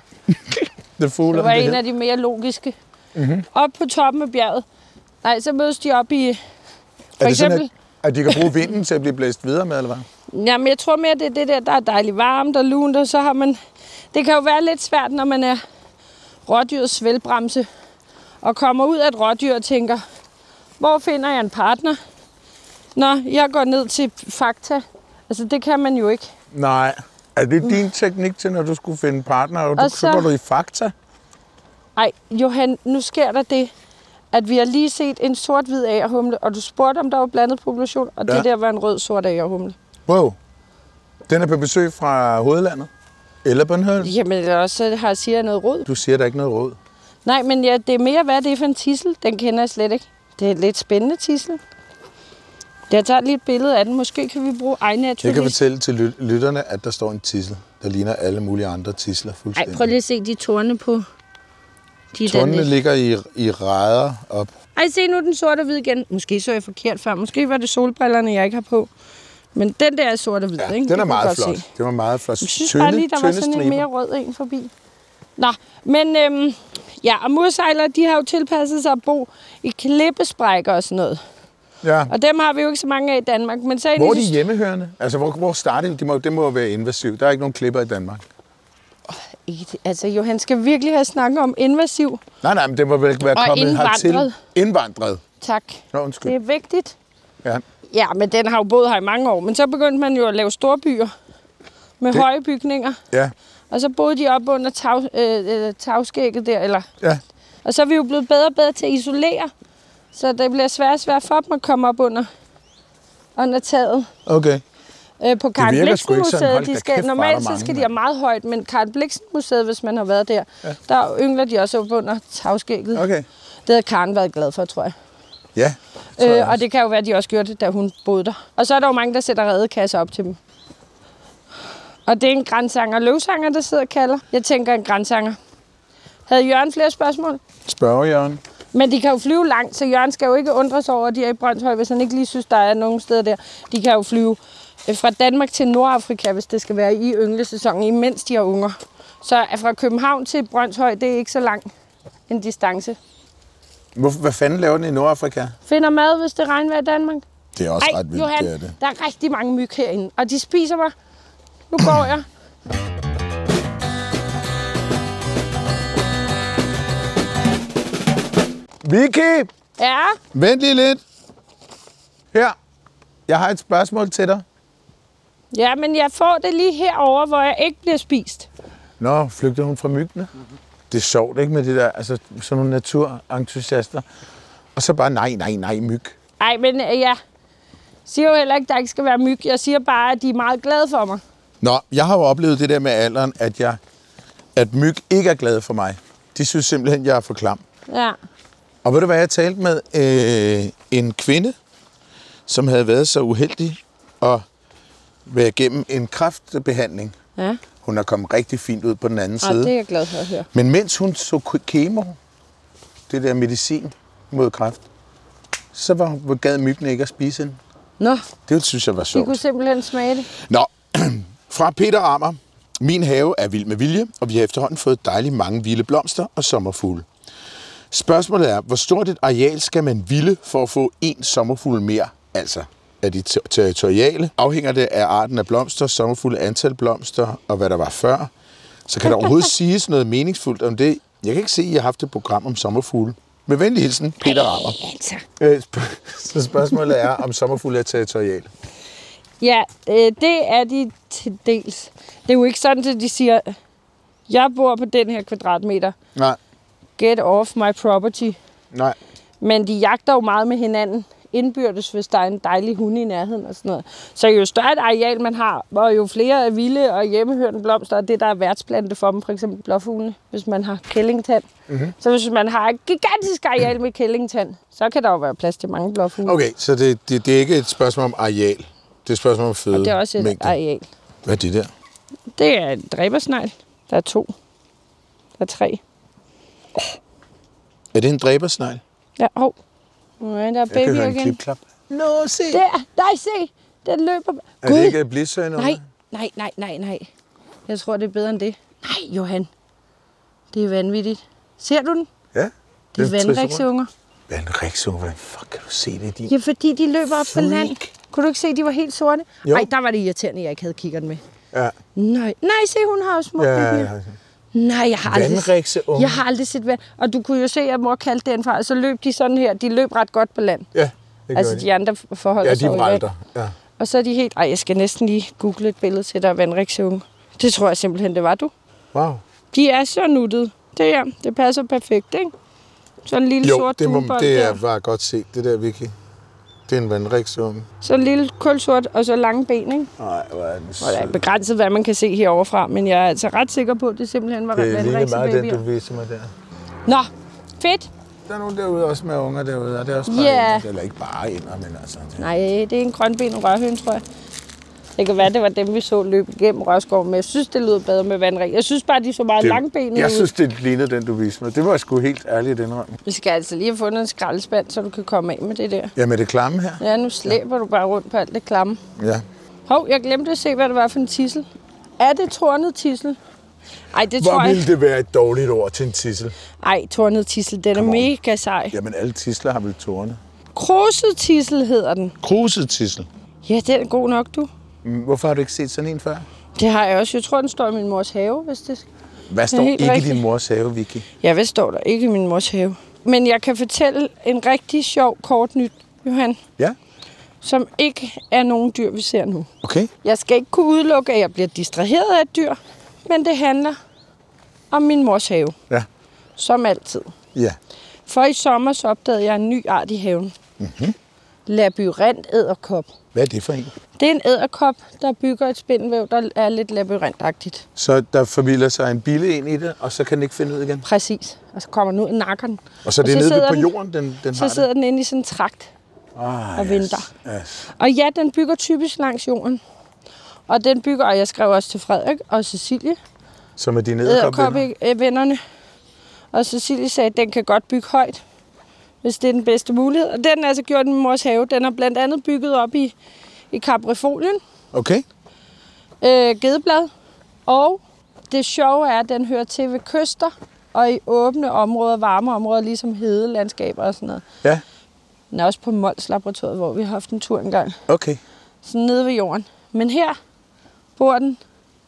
[SPEAKER 2] The fool
[SPEAKER 3] Det
[SPEAKER 2] on
[SPEAKER 3] var
[SPEAKER 2] the
[SPEAKER 3] en
[SPEAKER 2] hill. Mhm.
[SPEAKER 3] af de mere logiske. Mm-hmm. Op på toppen af bjerget. Nej, så mødes de op i... For
[SPEAKER 2] er det
[SPEAKER 3] eksempel...
[SPEAKER 2] sådan, at, at de kan bruge vinden til at blive blæst videre med, eller hvad?
[SPEAKER 3] Jamen, jeg tror mere, det er det der, der er dejligt varmt og lunt, og så har man... Det kan jo være lidt svært, når man er rådyrets svælbremse, og kommer ud af et rådyr og tænker, hvor finder jeg en partner? Nå, jeg går ned til fakta. Altså, det kan man jo ikke.
[SPEAKER 2] Nej. Er det din teknik til, når du skulle finde partner, og, du,
[SPEAKER 3] Mm. Og
[SPEAKER 2] så...
[SPEAKER 3] så-
[SPEAKER 2] går du i fakta?
[SPEAKER 3] Ej, Johan, nu sker der det, at vi har lige set en sort-hvid agerhumle, og du spurgte, om der var blandet population, og ja.
[SPEAKER 2] Ja.
[SPEAKER 3] det der var en rød-sort agerhumle.
[SPEAKER 2] Wow. Den er på besøg fra hovedlandet. Eller Bornholm.
[SPEAKER 3] Jamen, eller også har siger jeg noget rod.
[SPEAKER 2] Du siger, der er ikke noget råd.
[SPEAKER 3] Nej, men ja, det er mere, hvad det er for en tissel. Den kender jeg slet ikke. Det er en lidt spændende tissel. Jeg tager lige et billede af den. Måske kan vi bruge
[SPEAKER 2] Jeg kan
[SPEAKER 3] iNaturalist.
[SPEAKER 2] fortælle til lyt- lytterne, at der står en tissel, der ligner alle mulige andre tisler
[SPEAKER 3] Ej,
[SPEAKER 2] fuldstændig.
[SPEAKER 3] prøv lige at se de torne på. De er
[SPEAKER 2] Tundene
[SPEAKER 3] dernede.
[SPEAKER 2] ligger i, i rædder op.
[SPEAKER 3] Ej, se nu er den sort og hvid igen. Måske så jeg forkert før. Måske var det solbrillerne, jeg ikke har på. Men den der er sort og hvid, ikke? Det
[SPEAKER 2] den er
[SPEAKER 3] kan
[SPEAKER 2] meget
[SPEAKER 3] jeg godt
[SPEAKER 2] flot.
[SPEAKER 3] se.
[SPEAKER 2] Det var meget flot.
[SPEAKER 3] Jeg synes bare lige, der var sådan en mere rød en forbi. Nå, men øhm, ja, og mursejlere, de har jo tilpasset sig at bo i klippesprækker og sådan noget.
[SPEAKER 2] Ja.
[SPEAKER 3] Og dem har vi jo ikke så mange af i Danmark. Men så
[SPEAKER 2] Hvor er
[SPEAKER 3] de...
[SPEAKER 2] de hjemmehørende? Altså, hvor, hvor starter de? Det må, det må jo være invasivt. Der er ikke nogen klipper i Danmark.
[SPEAKER 3] Ikke- Altså, Johan skal virkelig have snakket om invasiv.
[SPEAKER 2] Nej, nej, men det må vel være
[SPEAKER 3] Og
[SPEAKER 2] kommet hertil.
[SPEAKER 3] indvandret.
[SPEAKER 2] Indvandret.
[SPEAKER 3] Tak.
[SPEAKER 2] Nå, undskyld.
[SPEAKER 3] Det er vigtigt.
[SPEAKER 2] Ja.
[SPEAKER 3] Ja, men den har jo boet her i mange år. Men så begyndte man jo at lave store byer med
[SPEAKER 2] Det-
[SPEAKER 3] det... høje bygninger.
[SPEAKER 2] ja,
[SPEAKER 3] Og så boede de op under tag, øh, øh, tagskægget der. Eller...
[SPEAKER 2] ja.
[SPEAKER 3] Og så er vi jo blevet bedre og bedre til at isolere. Så det bliver svært og svært for dem at komme op under, under taget.
[SPEAKER 2] Okay.
[SPEAKER 3] Øh, på Karen
[SPEAKER 2] virker sgu
[SPEAKER 3] Blixen
[SPEAKER 2] ikke sådan. Hold
[SPEAKER 3] Museet,
[SPEAKER 2] da
[SPEAKER 3] de skal,
[SPEAKER 2] kæft, hvor er der
[SPEAKER 3] normalt
[SPEAKER 2] mange,
[SPEAKER 3] så skal de
[SPEAKER 2] mand.
[SPEAKER 3] have meget højt, men Karen Blixen Museet, hvis man har været der, ja. der yngler de også op under tagskægget.
[SPEAKER 2] Okay.
[SPEAKER 3] Det havde Karen været glad for, tror jeg.
[SPEAKER 2] Ja. tror jeg
[SPEAKER 3] Øh, og
[SPEAKER 2] også.
[SPEAKER 3] det kan jo være, at de også gjorde det, da hun boede der. Og så er der jo mange, der sætter redekasser op til dem. Og det er en grænsanger og løvsanger, der sidder og kalder. Jeg tænker en grænsanger. Havde Jørgen flere spørgsmål?
[SPEAKER 2] Spørger Jørgen.
[SPEAKER 3] Men de kan jo flyve langt, så Jørgen skal jo ikke undre sig over, at de er i Brøndshøj, hvis han ikke lige synes, der er nogen steder der. De kan jo flyve øh, fra Danmark til Nordafrika, hvis det skal være i ynglesæsonen, imens de har unger. Så øh, fra København til Brøndshøj, det er ikke så lang en distance.
[SPEAKER 2] Hvor, hvad fanden laver den i Nordafrika?
[SPEAKER 3] Finder mad, hvis det regner i Danmark.
[SPEAKER 2] Det er også
[SPEAKER 3] Ej, Johan,
[SPEAKER 2] det er det.
[SPEAKER 3] der er rigtig mange myg herinde, og de spiser mig. Nu går jeg.
[SPEAKER 2] Vicky,
[SPEAKER 3] Ja,
[SPEAKER 2] vent lige lidt. Her. Jeg har et spørgsmål til dig.
[SPEAKER 3] ja, men jeg får det lige herover, hvor jeg ikke bliver spist.
[SPEAKER 2] Nå, flygtede hun fra myggene? Det er sjovt, ikke, med det der, altså sådan nogle naturentusiaster. Og så bare, nej, nej, nej, myg.
[SPEAKER 3] Ej, men øh, jeg siger jo heller ikke, at der ikke skal være myg. Jeg siger bare, at de er meget glade for mig.
[SPEAKER 2] Nå, jeg har jo oplevet det der med alderen, at, jeg, at myg ikke er glade for mig. De synes simpelthen, jeg er for klam.
[SPEAKER 3] Ja.
[SPEAKER 2] Og ved du hvad, jeg talte med øh, en kvinde, som havde været så uheldig at være igennem en kræftbehandling.
[SPEAKER 3] Ja.
[SPEAKER 2] Hun er kommet rigtig fint ud på den anden
[SPEAKER 3] Og
[SPEAKER 2] side.
[SPEAKER 3] det er jeg glad for at høre.
[SPEAKER 2] Men mens hun så k- kemo, det der medicin mod kræft, så var hun gad myggen ikke at spise hende.
[SPEAKER 3] Nå,
[SPEAKER 2] Det synes jeg var
[SPEAKER 3] de
[SPEAKER 2] sjovt.
[SPEAKER 3] kunne simpelthen smage det.
[SPEAKER 2] Nå, fra Peter Ammer. Min have er vild med vilje, og vi har efterhånden fået dejligt mange vilde blomster og sommerfugle. Spørgsmålet er, hvor stort et areal skal man ville for at få en sommerfugl mere? Altså, er de ter- territoriale? Afhænger det af arten af blomster, sommerfugle, antal blomster og hvad der var før? Så kan der overhovedet siges noget meningsfuldt om det? Jeg kan ikke se, at I har haft et program om sommerfugle. Med venlig hilsen, Peter Ammer.
[SPEAKER 3] Altså.
[SPEAKER 2] Øh, sp- Så spørgsmålet er, om sommerfugle er territoriale.
[SPEAKER 3] Ja, øh, det er de til dels. Det er jo ikke sådan, at de siger, jeg bor på den her kvadratmeter.
[SPEAKER 2] Nej,
[SPEAKER 3] Get off my property.
[SPEAKER 2] nej.
[SPEAKER 3] Men de jagter jo meget med hinanden indbyrdes, hvis der er en dejlig hund i nærheden og sådan noget. Så jo større et areal man har, og jo flere er vilde og hjemmehørende blomster, og det der er værtsplante for dem, for eksempel blåfuglene, hvis man har kællingtand. Mm-hmm. Så hvis man har et gigantisk areal med kællingtand, så kan der jo være plads til mange blåfugle.
[SPEAKER 2] Okay, så det, det, det er ikke et spørgsmål om areal. Det er et spørgsmål om føde.
[SPEAKER 3] Og det er også et areal.
[SPEAKER 2] Hvad er det der?
[SPEAKER 3] Det er en dræbersnegl. Der er to. Der er tre.
[SPEAKER 2] Er det en dræbersnegl?
[SPEAKER 3] Ja, hov. Nej, der er baby igen.
[SPEAKER 2] klipklap. Nå, se! Det,
[SPEAKER 3] Der! Nej, se! Den løber.
[SPEAKER 2] er det ikke blisøjne?
[SPEAKER 3] Nej, nej, nej, nej, nej. Jeg tror, det er bedre end det. Nej, Johan. Det er vanvittigt. Ser du den?
[SPEAKER 2] Ja.
[SPEAKER 3] Det er vandriksunger.
[SPEAKER 2] Vandriksunger. Hvordan fuck kan du se det? De...
[SPEAKER 3] Ja, fordi de løber op på
[SPEAKER 2] Freak.
[SPEAKER 3] land. Kunne du ikke se, at de var helt sorte?
[SPEAKER 2] Jo.
[SPEAKER 3] Nej, der var det irriterende, at jeg ikke havde kikkert med.
[SPEAKER 2] Ja.
[SPEAKER 3] Nej, nej, se, hun har også små
[SPEAKER 2] Ja, ja,
[SPEAKER 3] babyer.
[SPEAKER 2] ja.
[SPEAKER 3] Nej, jeg har aldrig,
[SPEAKER 2] Vandrikseunge.
[SPEAKER 3] jeg har aldrig set vand. Og du kunne jo se, at mor kaldte den for, og så løb de sådan her. De løb ret godt på land.
[SPEAKER 2] ja det
[SPEAKER 3] altså,
[SPEAKER 2] gør
[SPEAKER 3] de altså, andre forholder
[SPEAKER 2] Ja,
[SPEAKER 3] sig jo
[SPEAKER 2] de
[SPEAKER 3] i vand.
[SPEAKER 2] bralter. Ja.
[SPEAKER 3] Og så er de helt... Ej, jeg skal næsten lige google et billede til dig af vandrikseunge. Det tror jeg simpelthen, det var du.
[SPEAKER 2] Wow.
[SPEAKER 3] De er så nuttede. Det her, det passer perfekt, ikke? Sådan en lille
[SPEAKER 2] Jo,
[SPEAKER 3] sort
[SPEAKER 2] det, må,
[SPEAKER 3] duebold
[SPEAKER 2] det
[SPEAKER 3] der.
[SPEAKER 2] er bare godt set. Det der, Vicky. Det er en vandriksunge.
[SPEAKER 3] Så en lille kulsort og så lange ben, ikke?
[SPEAKER 2] Nej, hvor er den sød.
[SPEAKER 3] Og der er begrænset, hvad man kan se herovre fra, men jeg er altså ret sikker på, at det simpelthen var
[SPEAKER 2] Det er lige
[SPEAKER 3] vandrikse
[SPEAKER 2] meget den,
[SPEAKER 3] babyer.
[SPEAKER 2] du viser mig der.
[SPEAKER 3] Nå, fedt.
[SPEAKER 2] Der er nogen derude også med unger derude, og det er også bare
[SPEAKER 3] Ja.
[SPEAKER 2] yeah. Eller ikke bare ender, men altså... Det...
[SPEAKER 3] Nej, det er en grønben og rørhøn, tror jeg. Det kan være, det var dem, vi så løbe igennem Rørskoven, men jeg synes, det lød bedre med vandring. Jeg synes bare, de så meget
[SPEAKER 2] Det-
[SPEAKER 3] langbenede
[SPEAKER 2] Jeg
[SPEAKER 3] ud.
[SPEAKER 2] synes, det lignede den, du viste mig. Det var jeg sgu helt ærligt indrømme.
[SPEAKER 3] Vi skal altså lige have fundet en skraldespand, så du kan komme af med det der.
[SPEAKER 2] Ja, med det klamme her.
[SPEAKER 3] Ja, nu slæber du bare rundt på alt det klamme.
[SPEAKER 2] Ja.
[SPEAKER 3] Hov, jeg glemte at se, hvad det var for en tissel. Er det tornet tissel? Ej, det tror
[SPEAKER 2] Hvor
[SPEAKER 3] jeg.
[SPEAKER 2] ville det være et dårligt ord til en tissel?
[SPEAKER 3] Ej, tornet tissel, den er mega sej.
[SPEAKER 2] Jamen, alle tisler har vel tårne.
[SPEAKER 3] Kruset tissel hedder den.
[SPEAKER 2] Kruset tissel.
[SPEAKER 3] Ja, den er god nok, du.
[SPEAKER 2] Mm, Hvorfor har du ikke set sådan en før?
[SPEAKER 3] Det har jeg også. Jeg tror, den står i min mors have, hvis det...
[SPEAKER 2] Hvad står
[SPEAKER 3] helt
[SPEAKER 2] ikke i
[SPEAKER 3] rigtigt.
[SPEAKER 2] din mors have, Vicky?
[SPEAKER 3] Ja, hvad står der? Ikke i min mors have. Men jeg kan fortælle en rigtig sjov, kort nyt, Johan,
[SPEAKER 2] Ja,
[SPEAKER 3] som ikke er nogen dyr, vi ser nu.
[SPEAKER 2] okay.
[SPEAKER 3] Jeg skal ikke kunne udelukke, at jeg bliver distraheret af et dyr, men det handler om min mors have,
[SPEAKER 2] Ja,
[SPEAKER 3] som altid.
[SPEAKER 2] ja.
[SPEAKER 3] For i sommer så opdagede jeg en ny art i haven. Mm-hmm. Labyrint æderkop.
[SPEAKER 2] Hvad er det for en?
[SPEAKER 3] Det er en æderkop, der bygger et spindelvæv, der er lidt labyrintagtigt.
[SPEAKER 2] Så der formidler sig en bille ind i det, og så kan den ikke finde ud igen.
[SPEAKER 3] Præcis. Og så kommer den ud og nakker den.
[SPEAKER 2] Og så er det nede ved
[SPEAKER 3] sidder
[SPEAKER 2] på
[SPEAKER 3] den-
[SPEAKER 2] jorden, den, den har
[SPEAKER 3] Så sidder den inde i sådan en trakt.
[SPEAKER 2] det. Ah,
[SPEAKER 3] og venter.
[SPEAKER 2] Yes.
[SPEAKER 3] Og ja, den bygger typisk langs jorden. Og den bygger, og jeg skrev også til Frederik og Cecilie,
[SPEAKER 2] Som er dine edderkopvenner.
[SPEAKER 3] æderkop-vennerne. øh, Og Cecilie sagde, at den kan godt bygge højt, hvis det er den bedste mulighed. Og den er altså gjort i min mors have. Den er blandt andet bygget op i, i Kaprifolien.
[SPEAKER 2] Okay.
[SPEAKER 3] øh, gedeblad. Og det sjove er, at den hører til ved kyster og i åbne områder, varme områder, ligesom hedelandskaber og sådan noget.
[SPEAKER 2] Ja,
[SPEAKER 3] Den er også på Mols Laboratoriet, hvor vi har haft en tur engang.
[SPEAKER 2] okay.
[SPEAKER 3] Sådan nede ved jorden. Men her bor den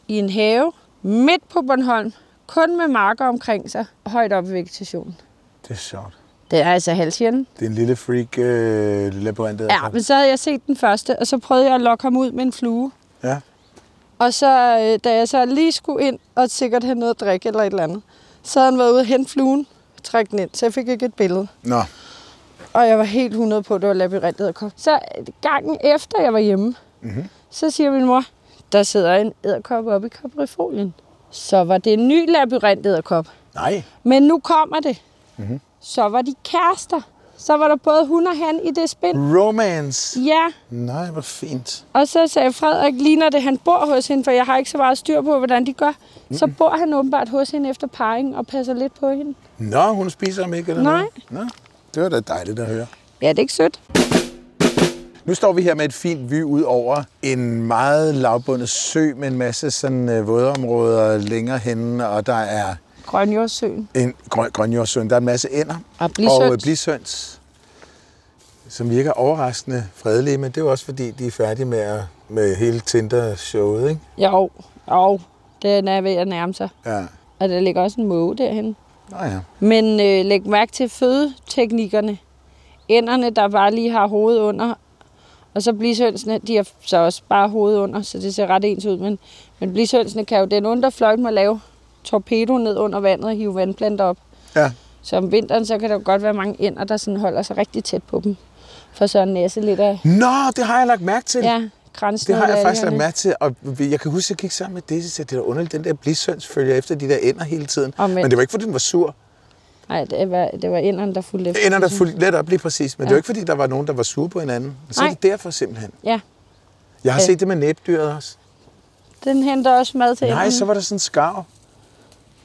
[SPEAKER 3] i en have midt på Bornholm. Kun med marker omkring sig. Højt op i vegetationen.
[SPEAKER 2] Det er sjovt.
[SPEAKER 3] Det er altså halvsjælden.
[SPEAKER 2] Det er en lille freak øh, labyrint.
[SPEAKER 3] Ja, men så havde jeg set den første, og så prøvede jeg at lokke ham ud med en flue.
[SPEAKER 2] ja.
[SPEAKER 3] Og så, øh, da jeg så lige skulle ind og sikkert have noget at drikke eller et eller andet, så havde han været ude og hente fluen og trække den ind, så jeg fik ikke et billede.
[SPEAKER 2] Nå,
[SPEAKER 3] Og jeg var helt 100 på, at det var labyrintet at komme. Så øh, gangen efter jeg var hjemme, mm-hmm.
[SPEAKER 2] Mhm.
[SPEAKER 3] så siger min mor, der sidder en æderkop oppe i kaprifolien. Så var det en ny labyrint æderkop.
[SPEAKER 2] nej. Mhm.
[SPEAKER 3] Men nu kommer det. Mm-hmm. Så var de kærester. Så var der både hun og han i det spil.
[SPEAKER 2] Romance.
[SPEAKER 3] Ja,
[SPEAKER 2] Nej, hvor fint.
[SPEAKER 3] og så sagde Frederik, ligner det, han bor hos hende, for jeg har ikke så meget styr på, hvordan de gør. Så
[SPEAKER 2] Mhm.
[SPEAKER 3] bor han åbenbart hos hende efter parringen og passer lidt på hende.
[SPEAKER 2] Nå, hun spiser ham ikke, eller
[SPEAKER 3] Nej.
[SPEAKER 2] noget? Nå, det var da dejligt at høre.
[SPEAKER 3] Ja, det er ikke sødt.
[SPEAKER 2] Nu står vi her med et fint vy ud over en meget lavbundet sø med en masse sådan øh, vådområder længere henne, og der er
[SPEAKER 3] Grønjordsøen.
[SPEAKER 2] en grøn, grønjordsøen, der er en masse ænder.
[SPEAKER 3] Og blisøns.
[SPEAKER 2] Og øh, blisøns, som virker overraskende fredelige, men det er jo også fordi, de er færdige med, at, med hele Tinder-showet, ikke?
[SPEAKER 3] Jo, jo, den er ved at nærme sig.
[SPEAKER 2] Ja.
[SPEAKER 3] Og der ligger også en måge derhen.
[SPEAKER 2] Nå ja.
[SPEAKER 3] Men øh, læg mærke til fødeteknikkerne. Ænderne, der bare lige har hovedet under, og så blisønsene, de har så også bare hovedet under, så det ser ret ens ud. Men, men blisønsene kan jo den underfløjt med at lave torpedo ned under vandet og hive vandplanter op.
[SPEAKER 2] Ja.
[SPEAKER 3] Så om vinteren, så kan der jo godt være mange ænder, der sådan holder sig rigtig tæt på dem. For så er næse lidt af
[SPEAKER 2] Nå, det har jeg lagt mærke til.
[SPEAKER 3] ja, grænsen.
[SPEAKER 2] Det har jeg faktisk lagt mærke til, og vi- jeg kan huske, at jeg gik sammen med Daisy, så det er da underligt, den der blisøns følger efter de der ender hele tiden.
[SPEAKER 3] Og men-
[SPEAKER 2] Men det var ikke, fordi den var sur.
[SPEAKER 3] Nej, det var, det var ænderne, der fulgte efter.
[SPEAKER 2] Ender der fulgte let op lige præcis, men ja. det var ikke, fordi der var nogen, der var sure på hinanden. Så er
[SPEAKER 3] Nej.
[SPEAKER 2] det derfor simpelthen.
[SPEAKER 3] Ja,
[SPEAKER 2] Jeg har
[SPEAKER 3] Ja.
[SPEAKER 2] set det med næbdyret også.
[SPEAKER 3] den henter også mad til
[SPEAKER 2] Nej,
[SPEAKER 3] ænderne.
[SPEAKER 2] så var der sådan en skarv.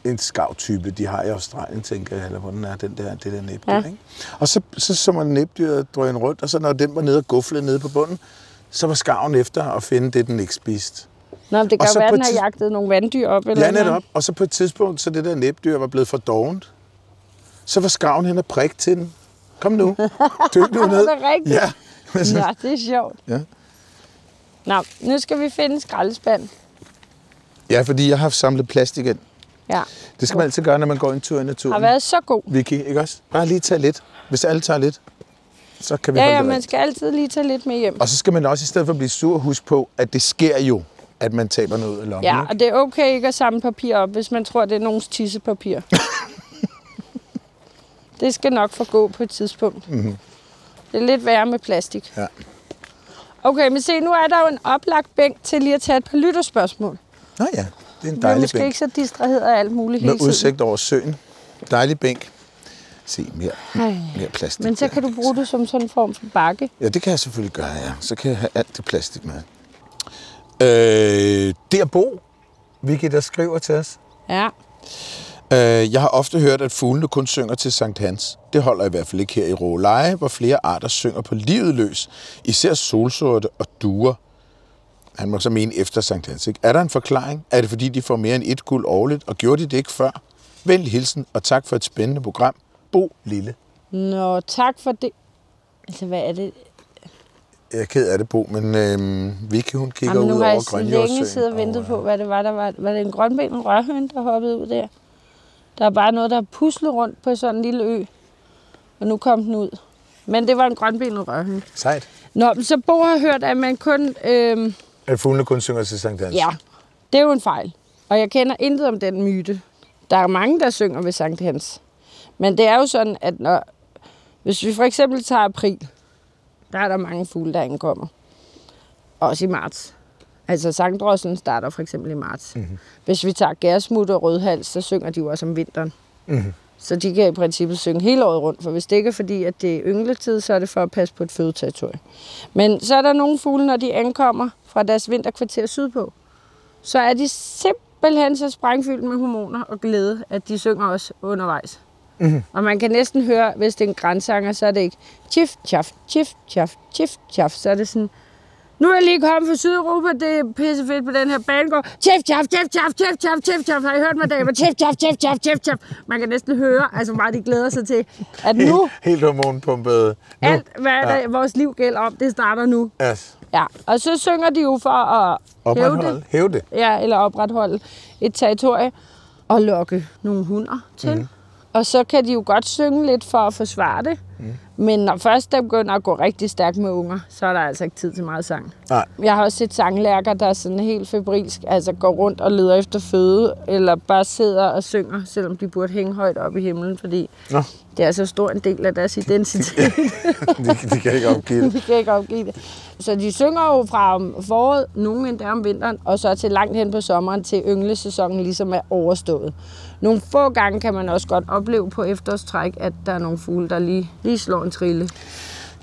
[SPEAKER 2] En skarvtype, de har i Australien, tænker jeg, eller hvor den er, den der, det der næbdyr.
[SPEAKER 3] Ja.
[SPEAKER 2] Ja. Ikke? Og så, så, så man næbdyret drøn rundt, og så når den var nede og guflede nede på bunden, så var skarven efter at finde det, den ikke spiste.
[SPEAKER 3] Nå, men det
[SPEAKER 2] Og
[SPEAKER 3] kan
[SPEAKER 2] så
[SPEAKER 3] jo være,
[SPEAKER 2] på
[SPEAKER 3] den
[SPEAKER 2] et
[SPEAKER 3] har
[SPEAKER 2] tids-
[SPEAKER 3] jagtet nogle vanddyr op. Eller
[SPEAKER 2] Ja,
[SPEAKER 3] noget.
[SPEAKER 2] netop. Og så på et tidspunkt, så det der næbdyr var blevet for dovent. Så var skarven hen og prik til den. Kom nu. Dyk nu ned.
[SPEAKER 3] Er det rigtigt?
[SPEAKER 2] Ja. Men så-
[SPEAKER 3] Nå, det er sjovt.
[SPEAKER 2] Altså- Ja.
[SPEAKER 3] Nå, nu skal vi finde en skraldespand.
[SPEAKER 2] ja, fordi jeg har samlet plast igen.
[SPEAKER 3] Ja.
[SPEAKER 2] Det skal man altid gøre, når man går en tur i
[SPEAKER 3] Har
[SPEAKER 2] naturen.
[SPEAKER 3] været så god.
[SPEAKER 2] Vicky, ikke også? Bare lige tage lidt. Hvis alle tager lidt, så kan vi
[SPEAKER 3] Ja,
[SPEAKER 2] holde
[SPEAKER 3] ja,
[SPEAKER 2] det
[SPEAKER 3] man
[SPEAKER 2] rent.
[SPEAKER 3] skal altid lige tage lidt med hjem.
[SPEAKER 2] Og så skal man også i stedet for at blive sur, huske på, at det sker jo, at man taber noget ud af lommen.
[SPEAKER 3] Ja,
[SPEAKER 2] ikke?
[SPEAKER 3] og det er okay ikke at samle papir op, hvis man tror, det er nogens tissepapir. det skal nok forgå på et tidspunkt. Mm-hmm. Det er lidt værre med plastik.
[SPEAKER 2] Mhm. Ja.
[SPEAKER 3] Okay, men se, nu er der jo en oplagt bænk til lige at tage et par lytterspørgsmål.
[SPEAKER 2] Nå ja, det er en
[SPEAKER 3] Vi er
[SPEAKER 2] dejlig
[SPEAKER 3] måske
[SPEAKER 2] bænk.
[SPEAKER 3] ikke så distraheret af alt muligt hele
[SPEAKER 2] Med
[SPEAKER 3] tiden.
[SPEAKER 2] udsigt over søen. Dejlig bænk. Se, mere,
[SPEAKER 3] Ej.
[SPEAKER 2] mere plastik.
[SPEAKER 3] Men så kan du bruge det som sådan en form for bakke.
[SPEAKER 2] Ja, det kan jeg selvfølgelig gøre, ja. Så kan jeg have alt det plastik med. Øh, det er Bo, Vicky, der skriver til os.
[SPEAKER 3] Ja.
[SPEAKER 2] Øh, jeg har ofte hørt, at fuglene kun synger til Sankt Hans. Det holder i hvert fald ikke her i Råleje, hvor flere arter synger på livet løs. Især solsorte og duer. Han må så mene efter Sankt Hans, ikke? Er der en forklaring? Er det fordi, de får mere end et guld årligt, og gjorde de det ikke før? Venlig hilsen, og tak for et spændende program. Bo Lille.
[SPEAKER 3] Nå, tak for det. Altså, hvad er det?
[SPEAKER 2] Jeg er ked af det, Bo, men øh, Vicky, hun kigger
[SPEAKER 3] Jamen,
[SPEAKER 2] ud
[SPEAKER 3] nu har
[SPEAKER 2] over
[SPEAKER 3] jeg så længe
[SPEAKER 2] Grønjordsøen.
[SPEAKER 3] siddet og ventet
[SPEAKER 2] øh,
[SPEAKER 3] på, hvad det var, der var. Var det en grønben, en rørhøn, der hoppede ud der? Der er bare noget, der er puslet rundt på sådan en lille ø. Og nu kom den ud. Men det var en grønbenet rørhøn.
[SPEAKER 2] Sejt.
[SPEAKER 3] Nå, men så Bo har hørt, at man kun... Øhm,
[SPEAKER 2] At fuglene kun synger til Sankt Hans?
[SPEAKER 3] ja, det er jo en fejl. Og jeg kender intet om den myte. Der er mange, der synger ved Sankt Hans. Men det er jo sådan, at når, hvis vi for eksempel tager april, der er der mange fugle, der ankommer. Også i marts. Altså sangdrosselen starter for eksempel i marts. Mm-hmm. Hvis vi tager gærsmut og rødhals, så synger de jo også om vinteren.
[SPEAKER 2] Mhm.
[SPEAKER 3] Så de kan i princippet synge hele året rundt, for hvis det ikke er fordi, at det er yngletid, så er det for at passe på et fødeterritorium. Men så er der nogle fugle, når de ankommer fra deres vinterkvarter sydpå, så er de simpelthen så sprængfyldt med hormoner og glæde, at de synger også undervejs. Mm-hmm. Og man kan næsten høre, hvis det er en grænsanger, så er det ikke tjif, tjaf, tjif, tjaf, tjif, tjaf. Så er det sådan, nu er jeg lige kommet fra Sydeuropa, det er pissefedt på den her banegård. Tjef, tjaf, tjef, tjaf, tjef, tjaf, tjef, tjaf. Har I hørt mig, David? Tjef, tjaf, tjef, tjef, tjef, tjef. Man kan næsten høre, altså hvor meget de glæder sig til, at nu,
[SPEAKER 2] Helt hormonpumpet. Nu.
[SPEAKER 3] alt hvad der, vores liv gælder om, det starter nu.
[SPEAKER 2] Ja.
[SPEAKER 3] Ja, og så synger de jo for at hæve det,
[SPEAKER 2] Oprethold. Hæv det.
[SPEAKER 3] ja, eller opretholde et territorie og lokke nogle hunder til. Mm. Og så kan de jo godt synge lidt for at forsvare det. Mm. Men når først der begynder at gå rigtig stærkt med unger, så er der altså ikke tid til meget sang.
[SPEAKER 2] Nej.
[SPEAKER 3] Jeg har også set sanglærker, der er sådan helt febrilsk, altså går rundt og leder efter føde, eller bare sidder og synger, selvom de burde hænge højt op i himlen, fordi
[SPEAKER 2] Nå,
[SPEAKER 3] det er så stor en del af deres identitet.
[SPEAKER 2] det, det kan jeg ikke opgive det.
[SPEAKER 3] Vi kan ikke opgive det. Så de synger jo fra om foråret, nogen endda om vinteren, og så til langt hen på sommeren, til ynglesæsonen ligesom er overstået. Nogle få gange kan man også godt opleve på efterårstræk, at der er nogle fugle, der lige, lige slår en trille.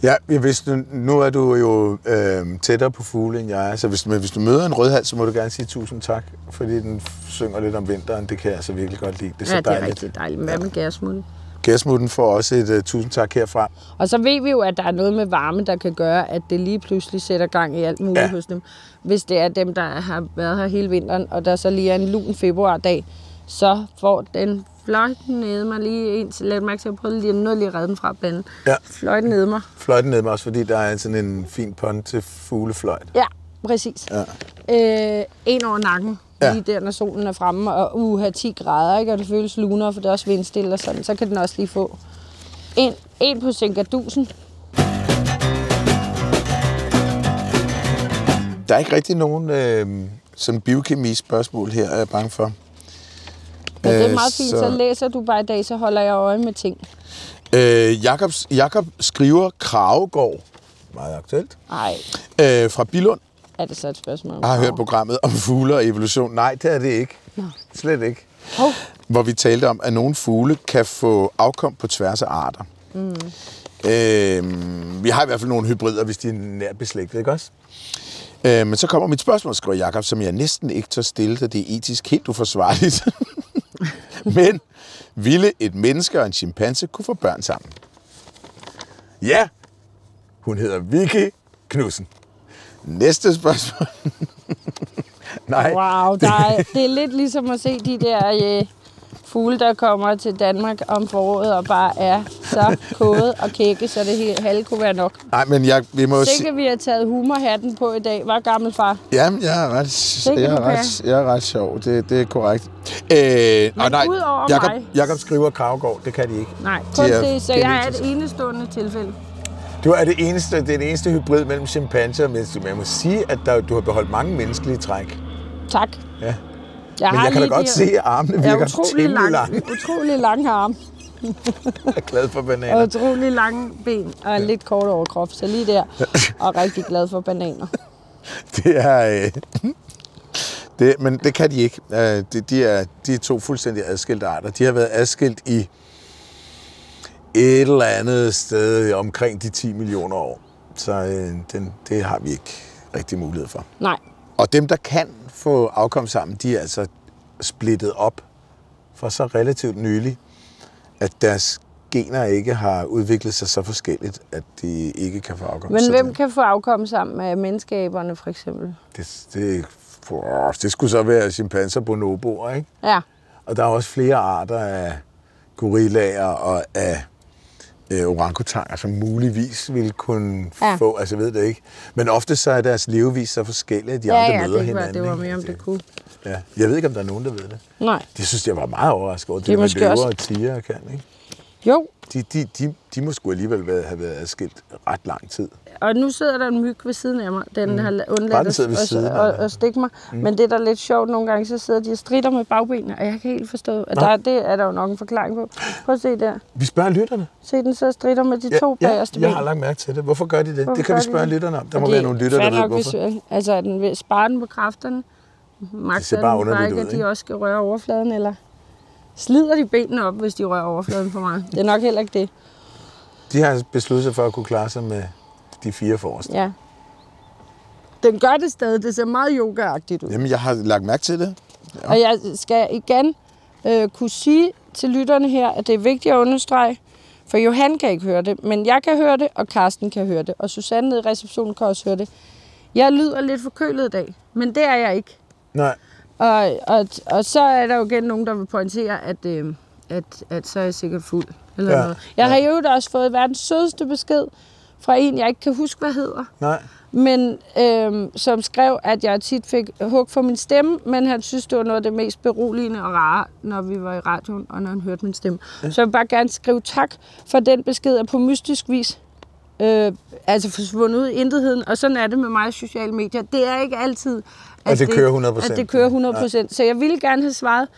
[SPEAKER 2] Ja, jeg vidste, nu- nu er du jo øh, tættere på fugle, end jeg er, så hvis, men hvis du møder en rødhals, så må du gerne sige tusind tak, fordi den f- synger lidt om vinteren. Det kan jeg altså virkelig godt lide. Det er så
[SPEAKER 3] ja, det er
[SPEAKER 2] dejligt.
[SPEAKER 3] rigtig dejligt. Hvad med gærsmutten?
[SPEAKER 2] Gærsmutten får også et uh, tusind tak herfra.
[SPEAKER 3] Og så ved vi jo, at der er noget med varme, der kan gøre, at det lige pludselig sætter gang i alt muligt
[SPEAKER 2] Ja.
[SPEAKER 3] ja. hos dem. Hvis det er dem, der har været her hele vinteren, og der så lige er en lun februardag, så får den fløjten nede mig lige ind til let mærke til, at jeg prøvede lige noget lige at redde den fra banden.
[SPEAKER 2] Ja.
[SPEAKER 3] Fløjten nede mig.
[SPEAKER 2] Fløjten ned med også, fordi der er sådan en fin pond til fuglefløjt.
[SPEAKER 3] Ja, præcis.
[SPEAKER 2] Ja.
[SPEAKER 3] Øh, en over nakken,
[SPEAKER 2] Ja.
[SPEAKER 3] ja. lige der, når solen er fremme, og uha, 10 grader, ikke? og det føles lunere, for det er også vindstille og sådan, så kan den også lige få en, en på sænkerdusen.
[SPEAKER 2] Der er ikke rigtig nogen øh, sådan biokemi-spørgsmål her, er jeg bange for.
[SPEAKER 3] Men det
[SPEAKER 2] Øh,
[SPEAKER 3] er meget fint, så...
[SPEAKER 2] så-
[SPEAKER 3] så læser du bare i dag, så holder jeg øje med ting.
[SPEAKER 2] Øh, Jakobs, Jakob skriver Kravegård, meget aktuelt,
[SPEAKER 3] Nej,
[SPEAKER 2] øh, fra Bilund.
[SPEAKER 3] er det så et spørgsmål? om
[SPEAKER 2] Jeg har hørt
[SPEAKER 3] farver?
[SPEAKER 2] programmet om fugle og evolution. Nej, det er det ikke.
[SPEAKER 3] Nå.
[SPEAKER 2] Slet ikke.
[SPEAKER 3] Hov,
[SPEAKER 2] Hvor vi talte om, at nogle fugle kan få afkom på tværs af arter. Mm. Øh, vi har i hvert fald nogle hybrider, hvis de er nært beslægtet, ikke også? Øh, men så kommer mit spørgsmål, skriver Jakob, som jeg næsten ikke tør stille, da det er etisk helt uforsvarligt. men ville et menneske og en chimpanse kunne få børn sammen? Ja, hun hedder Vicky Knudsen. Næste spørgsmål. Nej.
[SPEAKER 3] wow, der er, det er lidt ligesom at se de der øh, fugle, der kommer til Danmark om foråret og bare er så kode og kække, så det hele halve kunne være nok.
[SPEAKER 2] Nej, men jeg, vi må jo sige...
[SPEAKER 3] Sikke vi har taget humorhatten på i dag, var gammel far.
[SPEAKER 2] Jamen, jeg er ret,
[SPEAKER 3] kan
[SPEAKER 2] jeg er
[SPEAKER 3] du
[SPEAKER 2] ret, jeg er ret sjov. Det, det er korrekt. Øh, og nej,
[SPEAKER 3] udover
[SPEAKER 2] Jakob,
[SPEAKER 3] mig-
[SPEAKER 2] Jakob skriver Kravgaard. Det kan de ikke.
[SPEAKER 3] Nej, kun
[SPEAKER 2] Det er
[SPEAKER 3] det, det, så jeg er
[SPEAKER 2] genetisk.
[SPEAKER 3] et enestående tilfælde.
[SPEAKER 2] Du er det eneste, det er den eneste hybrid mellem chimpanse og menneske. Men jeg må sige, at der, du har beholdt mange menneskelige træk.
[SPEAKER 3] Tak.
[SPEAKER 2] Ja.
[SPEAKER 3] Jeg
[SPEAKER 2] Men jeg kan da godt se, at armene
[SPEAKER 3] jeg
[SPEAKER 2] virker
[SPEAKER 3] er utrolig
[SPEAKER 2] temmelig
[SPEAKER 3] lang,
[SPEAKER 2] lange.
[SPEAKER 3] utrolig lange arme,
[SPEAKER 2] Jeg er glad for
[SPEAKER 3] og
[SPEAKER 2] bananer.
[SPEAKER 3] utrolig lange ben, og lidt kort overkrop, så lige der, og rigtig glad for bananer.
[SPEAKER 2] Det er... Øh, det, men det kan de ikke. Øh, de, de, er, de er to fuldstændig adskilte arter. De har været adskilt i et eller andet sted omkring de 10 millioner år. Så øh, den, det har vi ikke rigtig mulighed for.
[SPEAKER 3] Nej,
[SPEAKER 2] Og dem, der kan få afkom sammen, de er altså splittet op for så relativt nylig, at deres gener ikke har udviklet sig så forskelligt, at de ikke kan få afkom.
[SPEAKER 3] men
[SPEAKER 2] Så
[SPEAKER 3] hvem
[SPEAKER 2] det-
[SPEAKER 3] kan få afkom sammen med menneskeaberne for eksempel?
[SPEAKER 2] Det, det, for, det skulle så være chimpanser og bonoboer, ikke?
[SPEAKER 3] Ja,
[SPEAKER 2] Og der er også flere arter af gorillaer og af øh, orangutanger, som muligvis ville kunne ja.
[SPEAKER 3] Ja.
[SPEAKER 2] få, altså jeg ved det ikke. Men ofte så er deres levevis så forskellige, at de
[SPEAKER 3] ja,
[SPEAKER 2] andre
[SPEAKER 3] ja
[SPEAKER 2] møder
[SPEAKER 3] det, var,
[SPEAKER 2] hinanden.
[SPEAKER 3] det var
[SPEAKER 2] ikke? Altså,
[SPEAKER 3] mere om det kunne.
[SPEAKER 2] Ja. Jeg ved ikke, om der er nogen, der ved det.
[SPEAKER 3] Nej,
[SPEAKER 2] Det synes jeg var meget overrasket over. Det,
[SPEAKER 3] Det
[SPEAKER 2] det
[SPEAKER 3] er
[SPEAKER 2] med
[SPEAKER 3] måske
[SPEAKER 2] løver
[SPEAKER 3] også-
[SPEAKER 2] og tiger kan, ikke?
[SPEAKER 3] jo,
[SPEAKER 2] De, de, de, de må sgu alligevel være, have været adskilt ret lang tid.
[SPEAKER 3] og nu sidder der en myg ved siden af mig. Den mm. har la-
[SPEAKER 2] Bare den
[SPEAKER 3] undladt
[SPEAKER 2] sidder ved
[SPEAKER 3] at,
[SPEAKER 2] siden
[SPEAKER 3] at,
[SPEAKER 2] af
[SPEAKER 3] at,
[SPEAKER 2] dig.
[SPEAKER 3] at stikke mig. Mm. Men det, der er lidt sjovt nogle gange, så sidder de og strider med bagbenene, og jeg kan helt forstå, at
[SPEAKER 2] Nå.
[SPEAKER 3] der, det er der jo nok en forklaring på. Prøv at se der.
[SPEAKER 2] Vi spørger lytterne.
[SPEAKER 3] Se, den sidder og strider med de to bagerste
[SPEAKER 2] jeg har lagt mærke til det. Hvorfor gør de det?
[SPEAKER 3] Hvorfor
[SPEAKER 2] det kan vi
[SPEAKER 3] gør de
[SPEAKER 2] spørge
[SPEAKER 3] det?
[SPEAKER 2] lytterne om. Der må
[SPEAKER 3] Fordi
[SPEAKER 2] være nogle lytter, der
[SPEAKER 3] fair
[SPEAKER 2] ved
[SPEAKER 3] nok,
[SPEAKER 2] hvorfor.
[SPEAKER 3] Hvis, altså, er den ved, sparer den på kræfterne?
[SPEAKER 2] Det ser
[SPEAKER 3] Magter
[SPEAKER 2] bare
[SPEAKER 3] den
[SPEAKER 2] underligt
[SPEAKER 3] bare ikke,
[SPEAKER 2] ud,
[SPEAKER 3] at de
[SPEAKER 2] ikke?
[SPEAKER 3] også skal røre overfladen, eller slider de benene op, hvis de rører overfladen for meget? Det er nok heller ikke det.
[SPEAKER 2] De har besluttet sig for at kunne klare sig med de fire forreste.
[SPEAKER 3] Ja. Den gør det stadig. Det ser meget yogaagtigt ud.
[SPEAKER 2] Jamen, jeg har lagt mærke til det.
[SPEAKER 3] Ja. Og jeg skal igen øh, kunne sige til lytterne her, at det er vigtigt at understrege, for Johan kan ikke høre det, men jeg kan høre det, og Karsten kan høre det, og Susanne nede i receptionen kan også høre det. Jeg lyder lidt forkølet i dag, men det er jeg ikke.
[SPEAKER 2] Nej,
[SPEAKER 3] Og, og, og så er der jo igen nogen, der vil pointere, at, øh, at, at så er jeg sikkert fuld. Eller
[SPEAKER 2] Ja,
[SPEAKER 3] ja, noget. Jeg ja. har jo også fået verdens sødeste besked fra en, jeg ikke kan huske, hvad hedder.
[SPEAKER 2] Nej.
[SPEAKER 3] Men øhm, som skrev, at jeg tit fik hug for min stemme, men han synes, det var noget af det mest beroligende og rare, når vi var i radioen, og når han hørte min stemme. Ja. Så jeg vil bare gerne skrive tak for den besked, og på mystisk vis øh, altså forsvundet ud i intetheden. Og sådan er det med mig i sociale medier. Det er ikke altid, at,
[SPEAKER 2] det kører 100%.
[SPEAKER 3] At det kører 100%. Så jeg ville gerne have svaret.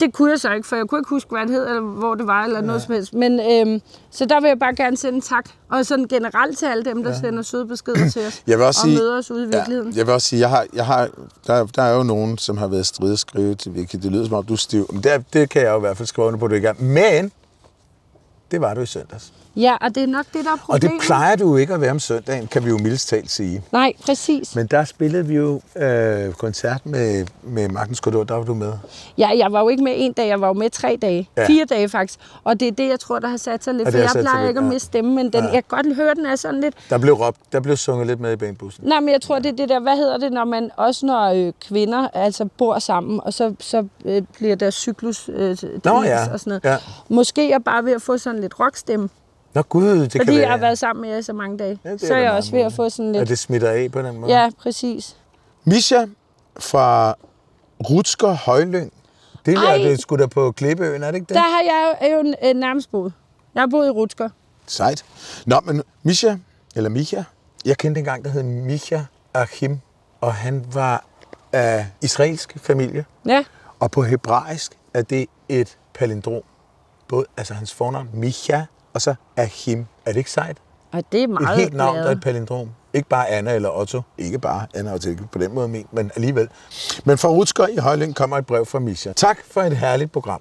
[SPEAKER 3] Det kunne jeg så ikke, for jeg kunne ikke huske, hvad det hed, eller hvor det var, eller ja. noget som helst. Men, øhm, så der vil jeg bare gerne sende en tak. Og sådan generelt til alle dem, der ja. sender søde beskeder til os.
[SPEAKER 2] Jeg vil også
[SPEAKER 3] og
[SPEAKER 2] sige-
[SPEAKER 3] møder os ude i virkeligheden.
[SPEAKER 2] Ja, jeg vil også sige, jeg har, jeg har, der, der er jo nogen, som har været strid at skrive til Vicky. Det lyder som om, du er stiv. Men det, det kan jeg jo i hvert fald skrive under på, du ikke er. Men det var du i søndags.
[SPEAKER 3] Ja. ja, og det er nok det, der er
[SPEAKER 2] Og det
[SPEAKER 3] problemet.
[SPEAKER 2] plejer du jo ikke at være om søndagen, kan vi jo mildest talt sige.
[SPEAKER 3] Nej, præcis.
[SPEAKER 2] Men der spillede vi jo øh, koncert med, med Magtens Korridor, der var du med.
[SPEAKER 3] Ja, jeg var jo ikke med en dag, jeg var jo med tre dage.
[SPEAKER 2] Ja.
[SPEAKER 3] Ja. Fire dage faktisk. Og det er det, jeg tror, der har sat sig lidt.
[SPEAKER 2] Og det
[SPEAKER 3] For
[SPEAKER 2] har
[SPEAKER 3] jeg
[SPEAKER 2] sat sig
[SPEAKER 3] plejer
[SPEAKER 2] lidt,
[SPEAKER 3] ikke at
[SPEAKER 2] ja.
[SPEAKER 3] miste stemmen, men den,
[SPEAKER 2] Ja.
[SPEAKER 3] ja. jeg kan godt høre, den er sådan lidt...
[SPEAKER 2] Der blev råbt, der blev sunget lidt med i banebussen.
[SPEAKER 3] Nej, men jeg tror, det er det der, hvad hedder det, når man, også når øh, kvinder altså bor sammen, og så, så øh, bliver der cyklus øh, ens
[SPEAKER 2] Nå, ja.
[SPEAKER 3] og sådan noget.
[SPEAKER 2] Ja.
[SPEAKER 3] Måske jeg bare ved at få sådan lidt rockstemme,
[SPEAKER 2] Nå gud, det kan
[SPEAKER 3] fordi
[SPEAKER 2] være.
[SPEAKER 3] jeg har været sammen med jer i så mange dage.
[SPEAKER 2] Ja, det er
[SPEAKER 3] så er
[SPEAKER 2] da
[SPEAKER 3] jeg
[SPEAKER 2] meget
[SPEAKER 3] også ved at
[SPEAKER 2] muligt.
[SPEAKER 3] få sådan
[SPEAKER 2] Og
[SPEAKER 3] lidt...
[SPEAKER 2] det smitter af på den måde.
[SPEAKER 3] Ja, præcis.
[SPEAKER 2] Misha fra Rutsker Højlyng. Det er,
[SPEAKER 3] Ej.
[SPEAKER 2] det er sgu da på Klippeøen, er det ikke det?
[SPEAKER 3] Der har jeg jo, jo øh, nærmest boet. Jeg har boet i Rutsker.
[SPEAKER 2] Sejt. Nå, men Misha, eller Micha. Jeg kendte en gang, der hed Micha Achim, og han var af israelsk familie.
[SPEAKER 3] Ja,
[SPEAKER 2] Og på hebraisk er det et palindrom. Både, altså hans fornavn, Micha, og så Achim. Er det ikke sejt?
[SPEAKER 3] og det er meget
[SPEAKER 2] et helt navn,
[SPEAKER 3] glade.
[SPEAKER 2] der er et palindrom. Ikke bare Anna eller Otto. Ikke bare Anna og Otto, ikke på den måde men, men alligevel. Men fra Rutsker i Højlyng kommer et brev fra Misha. Tak for et herligt program.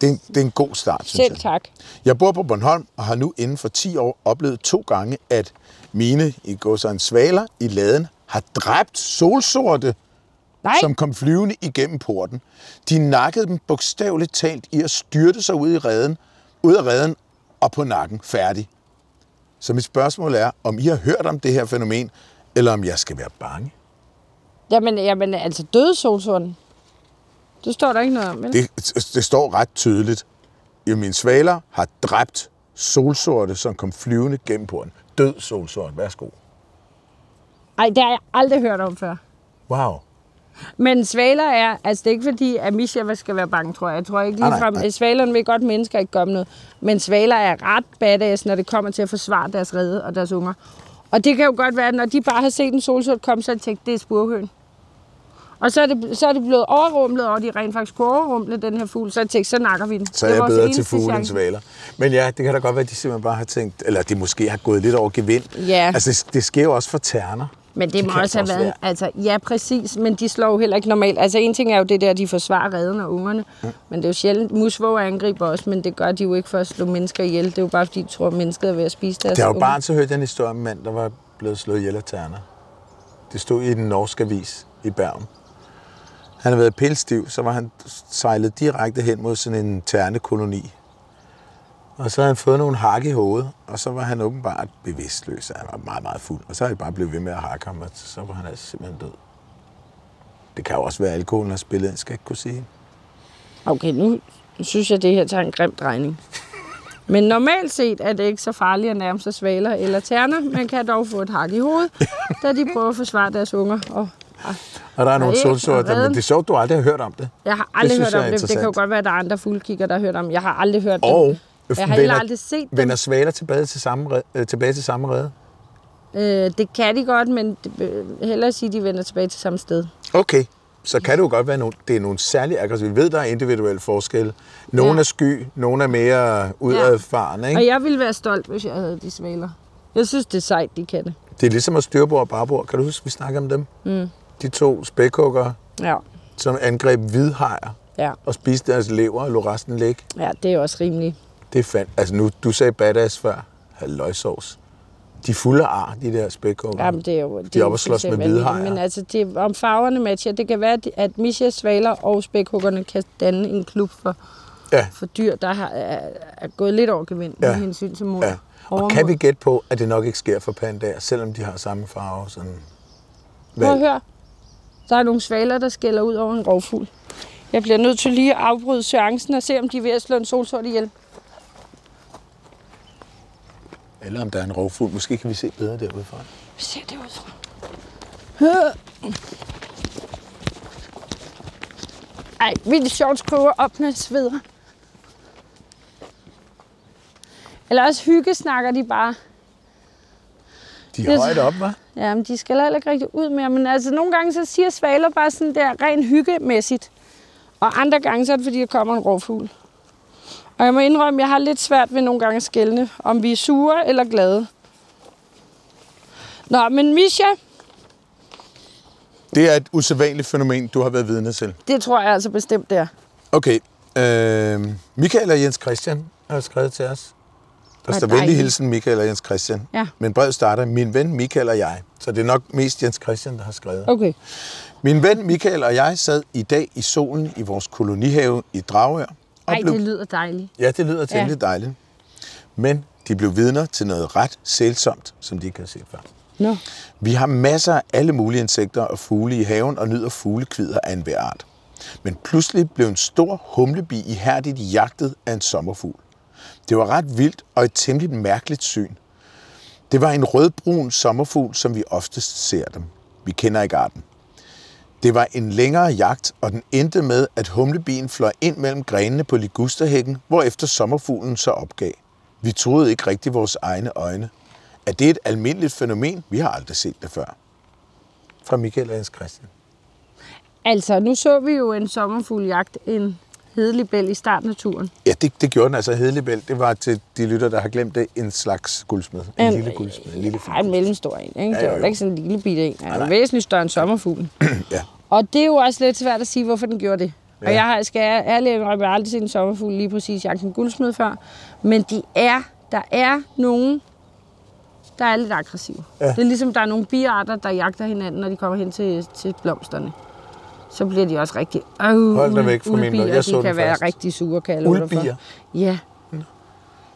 [SPEAKER 2] Det er en, det er en god start, synes
[SPEAKER 3] Selv
[SPEAKER 2] jeg.
[SPEAKER 3] tak.
[SPEAKER 2] Jeg bor på Bornholm og har nu inden for 10 år oplevet to gange, at mine i gåsøjne svaler i laden har dræbt solsorte,
[SPEAKER 3] Nej.
[SPEAKER 2] som kom flyvende igennem porten. De nakkede dem bogstaveligt talt i at styrte sig ud, i reden, ud af reden og på nakken færdig. Så mit spørgsmål er, om I har hørt om det her fænomen, eller om jeg skal være bange?
[SPEAKER 3] Jamen, jamen altså døde solsorten. Det står der ikke noget om, vel?
[SPEAKER 2] Det, det står ret tydeligt. Jo, mine svaler har dræbt solsorte, som kom flyvende gennem porten. Død solsorte, værsgo.
[SPEAKER 3] Nej, det har jeg aldrig hørt om før.
[SPEAKER 2] Wow.
[SPEAKER 3] Men svaler er, altså det er ikke fordi, at Misha skal være bange, tror jeg. Jeg tror ikke
[SPEAKER 2] Nej,
[SPEAKER 3] ligefrem,
[SPEAKER 2] nej,
[SPEAKER 3] at
[SPEAKER 2] nej.
[SPEAKER 3] svalerne vil godt mennesker ikke gøre dem noget. Men svaler er ret badass, når det kommer til at forsvare deres rede og deres unger. Og det kan jo godt være, at når de bare har set en solsort komme, så har de tænkt, det er spurhøn. Og så er, det, så er det blevet overrumlet over, at de rent faktisk kunne overrumle den her fugl. Så har de tænkt, så nakker vi den.
[SPEAKER 2] Så er
[SPEAKER 3] Det
[SPEAKER 2] jeg
[SPEAKER 3] vores
[SPEAKER 2] bedre til
[SPEAKER 3] eneste
[SPEAKER 2] fugle end
[SPEAKER 3] chance.
[SPEAKER 2] svaler. Men ja, det kan da godt være, at de simpelthen bare har tænkt, eller de måske har gået lidt over gevind.
[SPEAKER 3] Ja.
[SPEAKER 2] Altså, det, det sker jo også for terner.
[SPEAKER 3] Men det,
[SPEAKER 2] Det
[SPEAKER 3] det må
[SPEAKER 2] kan
[SPEAKER 3] også have
[SPEAKER 2] også
[SPEAKER 3] været...
[SPEAKER 2] være.
[SPEAKER 3] Altså, ja, præcis, men de slår jo heller ikke normalt. Altså, en ting er jo det der, de forsvarer redden og ungerne. Mm. Men det er jo sjældent... Musvåger angriber også, men det gør de jo ikke for at slå mennesker ihjel. Det er jo bare, fordi de tror, at mennesket er ved at spise deres
[SPEAKER 2] Da jeg var
[SPEAKER 3] unger.
[SPEAKER 2] barn, så hørte jeg en historie om en mand, der var blevet slået ihjel af terner. Det stod i den norske avis i Bergen. Han havde været pilstiv, så var han sejlet direkte hen mod sådan en ternekoloni. Og så havde han fået nogle hak i hovedet, og så var han åbenbart bevidstløs. Han var meget, meget fuld. Og så havde de bare blevet ved med at hakke ham, og så var han altså simpelthen død. Det kan jo også være, at alkoholen har spillet ind, skal jeg ikke kunne sige.
[SPEAKER 3] Okay, nu synes jeg, det her tager en grim drejning. Men normalt set er det ikke så farligt at nærme sig svaler eller terner. Man kan dog få et hak i hovedet, da de prøver at forsvare deres unger. Og
[SPEAKER 2] Og der er nogle
[SPEAKER 3] ikke
[SPEAKER 2] solsorter, men
[SPEAKER 3] redden.
[SPEAKER 2] det er sjovt, du aldrig har hørt om det.
[SPEAKER 3] jeg har aldrig
[SPEAKER 2] synes
[SPEAKER 3] hørt
[SPEAKER 2] jeg
[SPEAKER 3] om
[SPEAKER 2] er
[SPEAKER 3] det. Det kan jo
[SPEAKER 2] interessant.
[SPEAKER 3] godt være, at der er andre fuglekigger, der har hørt om det. Jeg har aldrig hørt
[SPEAKER 2] Og
[SPEAKER 3] dem. Jeg har heller aldrig set dem.
[SPEAKER 2] vender svaler tilbage til samme, red- øh, tilbage til samme redde.
[SPEAKER 3] Øh, det kan de godt, men det- øh, hellere sige, at de vender tilbage til samme sted.
[SPEAKER 2] Okay, så kan det jo godt være, at det er nogle særlig aggressive. Vi ved, der er individuelle forskelle. Nogle
[SPEAKER 3] Ja.
[SPEAKER 2] er sky, nogle er mere udadfarende.
[SPEAKER 3] Og
[SPEAKER 2] Ikke?
[SPEAKER 3] jeg ville være stolt, hvis jeg havde de svaler. Jeg synes, det er sejt, de kan det.
[SPEAKER 2] Det er ligesom at styrbord og bagbord. Kan du huske, vi snakkede om dem? Mm. De to spækhugger,
[SPEAKER 3] Ja,
[SPEAKER 2] som angreb hvidhajer
[SPEAKER 3] ja,
[SPEAKER 2] og spiste deres lever og lå resten ligge.
[SPEAKER 3] ja det er også rimeligt.
[SPEAKER 2] Det er fandt. Altså nu, du sagde badass før. Halløjsovs. De er fulde af ar, de der spækhugger.
[SPEAKER 3] Jamen, det er jo, det
[SPEAKER 2] De er oppe
[SPEAKER 3] jo
[SPEAKER 2] at slås med
[SPEAKER 3] fuldstændig
[SPEAKER 2] hvide
[SPEAKER 3] vanvittigt.
[SPEAKER 2] hajer.
[SPEAKER 3] Men altså, det er, om farverne matcher. Det kan være, at- at Misha svaler og spækhuggerne kan danne en klub for,
[SPEAKER 2] Ja.
[SPEAKER 3] for dyr, der har, er, er gået lidt over gevind
[SPEAKER 2] Ja.
[SPEAKER 3] med hensyn til mod.
[SPEAKER 2] Ja. Og kan vi gætte på, at det nok ikke sker for pandaer, selvom de har samme farve? Sådan...
[SPEAKER 3] Prøv at høre. Der er nogle svaler, der skælder ud over en rovfugl. Jeg bliver nødt til lige at afbryde seancen og se, om de er ved at slå en solsort ihjel.
[SPEAKER 2] Ja, Eller om der er en rovfugl. Måske kan vi se bedre derude fra.
[SPEAKER 3] Vi ser det ud fra. Ej, vildt sjovt skriver op med sveder. Eller også hygge snakker de bare.
[SPEAKER 2] De
[SPEAKER 3] Jeg-
[SPEAKER 2] er højt op, hva'?
[SPEAKER 3] Jamen, de skal heller ikke rigtig ud mere. Men altså, nogle gange så siger svaler bare sådan der ren hyggemæssigt. Og andre gange så er det, fordi der kommer en rovfugl. Og jeg må indrømme, jeg har lidt svært ved nogle gange at skelne, om vi er sure eller glade. Nå, men Misha,
[SPEAKER 2] Det er et usædvanligt fænomen, du har været vidne til.
[SPEAKER 3] det tror jeg altså bestemt, det er.
[SPEAKER 2] Okay. Øh, Michael og Jens Christian har skrevet til os. Der
[SPEAKER 3] Hvor
[SPEAKER 2] står venlig
[SPEAKER 3] dejligt.
[SPEAKER 2] hilsen Michael og Jens Christian.
[SPEAKER 3] Ja.
[SPEAKER 2] Men brevet starter, min ven Michael og jeg. Så det er nok mest Jens Christian, der har skrevet.
[SPEAKER 3] Okay.
[SPEAKER 2] Min ven Michael og jeg sad i dag i solen i vores kolonihave i Dragør. Og
[SPEAKER 3] Ej, det lyder dejligt.
[SPEAKER 2] Ja, det lyder temmelig ja. dejligt. Men de blev vidner til noget ret sælsomt, som de ikke havde set før.
[SPEAKER 3] Nå.
[SPEAKER 2] Vi har masser af alle mulige insekter og fugle i haven og nyder fuglekvider af enhver art. Men pludselig blev en stor humlebi ihærdigt jagtet af en sommerfugl. Det var ret vildt og et temmelig mærkeligt syn. Det var en rødbrun sommerfugl, som vi oftest ser dem. Vi kender ikke arten. Det var en længere jagt, og den endte med, at humlebien fløj ind mellem grenene på ligusterhækken, hvorefter sommerfuglen så opgav. Vi troede ikke rigtig vores egne øjne. Er det et almindeligt fænomen? Vi har aldrig set det før. Fra Michael og Jens Christian.
[SPEAKER 3] Altså, nu så vi jo en sommerfuglejagt, en hedelig bæl i starten af turen.
[SPEAKER 2] Ja, det, det gjorde den altså hedebæl. Det var til de lytter, der har glemt det, en slags guldsmed. En, øh, en lille guldsmed. En lille
[SPEAKER 3] Ej, en
[SPEAKER 2] fugl.
[SPEAKER 3] mellemstor en, ikke?
[SPEAKER 2] Ja,
[SPEAKER 3] det
[SPEAKER 2] jo,
[SPEAKER 3] var
[SPEAKER 2] jo.
[SPEAKER 3] da ikke sådan en lille bitte en. Den
[SPEAKER 2] nej.
[SPEAKER 3] er væsentligt større end sommerfuglen.
[SPEAKER 2] Ja.
[SPEAKER 3] Og det er jo også lidt svært at sige, hvorfor den gjorde det. Ja.
[SPEAKER 2] Ja.
[SPEAKER 3] Og jeg har, skal jeg ærligt indrømme, jeg har aldrig set en sommerfugl lige præcis jagte en guldsmed før. Men de er, der er nogen, der er lidt aggressive.
[SPEAKER 2] Ja.
[SPEAKER 3] Ja. Det er ligesom, der er nogle biarter, der jagter hinanden, når de kommer hen til, til blomsterne. Så bliver de også rigtig... Øh,
[SPEAKER 2] Hold da væk fra min
[SPEAKER 3] ulbier,
[SPEAKER 2] lov. Jeg så
[SPEAKER 3] de
[SPEAKER 2] den
[SPEAKER 3] kan være
[SPEAKER 2] først.
[SPEAKER 3] rigtig sure, kan jeg love dig for.
[SPEAKER 2] Ulbier?
[SPEAKER 3] Ja,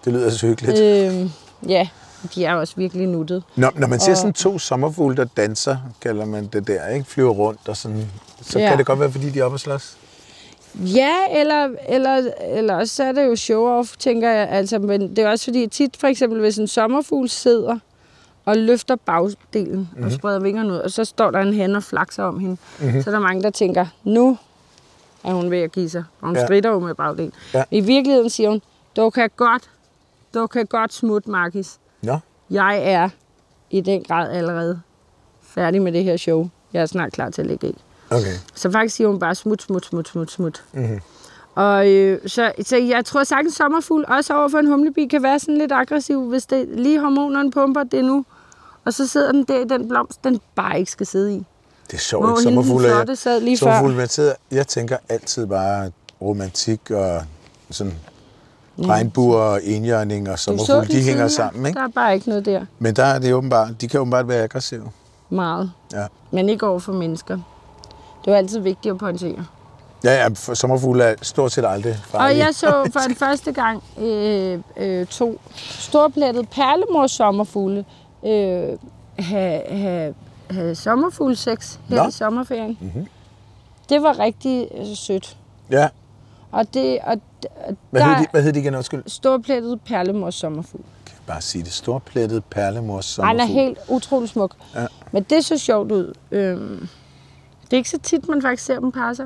[SPEAKER 2] Det lyder så hyggeligt.
[SPEAKER 3] øh, ja. De er også virkelig nuttet.
[SPEAKER 2] Når, når man ser sådan to sommerfugle, der danser, kalder man det der, ikke? flyver rundt og sådan, så ja.
[SPEAKER 3] Ja.
[SPEAKER 2] kan det godt være, fordi de er oppe og slås.
[SPEAKER 3] Ja, eller, eller, eller også så er det jo show-off, tænker jeg. Altså, men det er også fordi, tit for eksempel, hvis en sommerfugl sidder og løfter bagdelen mm-hmm. og spreder vingerne ud, og så står der en han og flakser om hende, mm-hmm. så er der mange, der tænker, nu er hun ved at give sig. Og hun
[SPEAKER 2] Ja.
[SPEAKER 3] ja. strider jo med bagdelen.
[SPEAKER 2] Ja.
[SPEAKER 3] Ja. I virkeligheden siger hun, du kan godt, du kan godt smutte, Markis.
[SPEAKER 2] Nå,
[SPEAKER 3] Jeg er i den grad allerede færdig med det her show. Jeg er snart klar til at lægge æg.
[SPEAKER 2] okay.
[SPEAKER 3] Så faktisk siger hun bare smut, smut, smut, smut, smut.
[SPEAKER 2] Mhm.
[SPEAKER 3] Mm-hmm. Og øh, så, så jeg tror sagtens sommerfugl, også overfor en humlebi, kan være sådan lidt aggressiv, hvis det lige hormonerne pumper det nu. Og så sidder den der i den blomst, den bare ikke skal sidde i.
[SPEAKER 2] Det er sjovt, ikke?
[SPEAKER 3] Hvor hende den
[SPEAKER 2] Sommerfugle, og
[SPEAKER 3] flotte sad lige før.
[SPEAKER 2] sommerfugle, man sidder, jeg tænker altid bare romantik og sådan
[SPEAKER 3] Mm.
[SPEAKER 2] regnbuer og enhjørning og sommerfugle, de, de hænger
[SPEAKER 3] tidligere.
[SPEAKER 2] sammen, ikke?
[SPEAKER 3] Der er bare ikke noget der
[SPEAKER 2] Men der er det åbenbart, de kan åbenbart være aggressive.
[SPEAKER 3] meget.
[SPEAKER 2] Ja,
[SPEAKER 3] Men ikke over for mennesker. Det var altid vigtigt at pointere.
[SPEAKER 2] ja, ja for sommerfugle er stort set aldrig
[SPEAKER 3] Og
[SPEAKER 2] farlige.
[SPEAKER 3] jeg så for den første gang øh, øh, to storplættede perlemors sommerfugle øh, have, have, have sommerfuglsex her
[SPEAKER 2] Nå. Mhm.
[SPEAKER 3] i sommerferien. Mm-hmm. Det var rigtig øh, sødt.
[SPEAKER 2] Ja,
[SPEAKER 3] Og det og, d- og
[SPEAKER 2] hvad,
[SPEAKER 3] der
[SPEAKER 2] hed de, hvad hed de igen? Undskyld.
[SPEAKER 3] storplættede perlemors sommerfugl.
[SPEAKER 2] Kan jeg bare sige det. Storplettet perlemors
[SPEAKER 3] Han
[SPEAKER 2] sommerfugle.
[SPEAKER 3] er helt utrolig smuk.
[SPEAKER 2] Ja.
[SPEAKER 3] Men det så sjovt ud. Øhm, det er ikke så tit, man faktisk ser dem parre sig.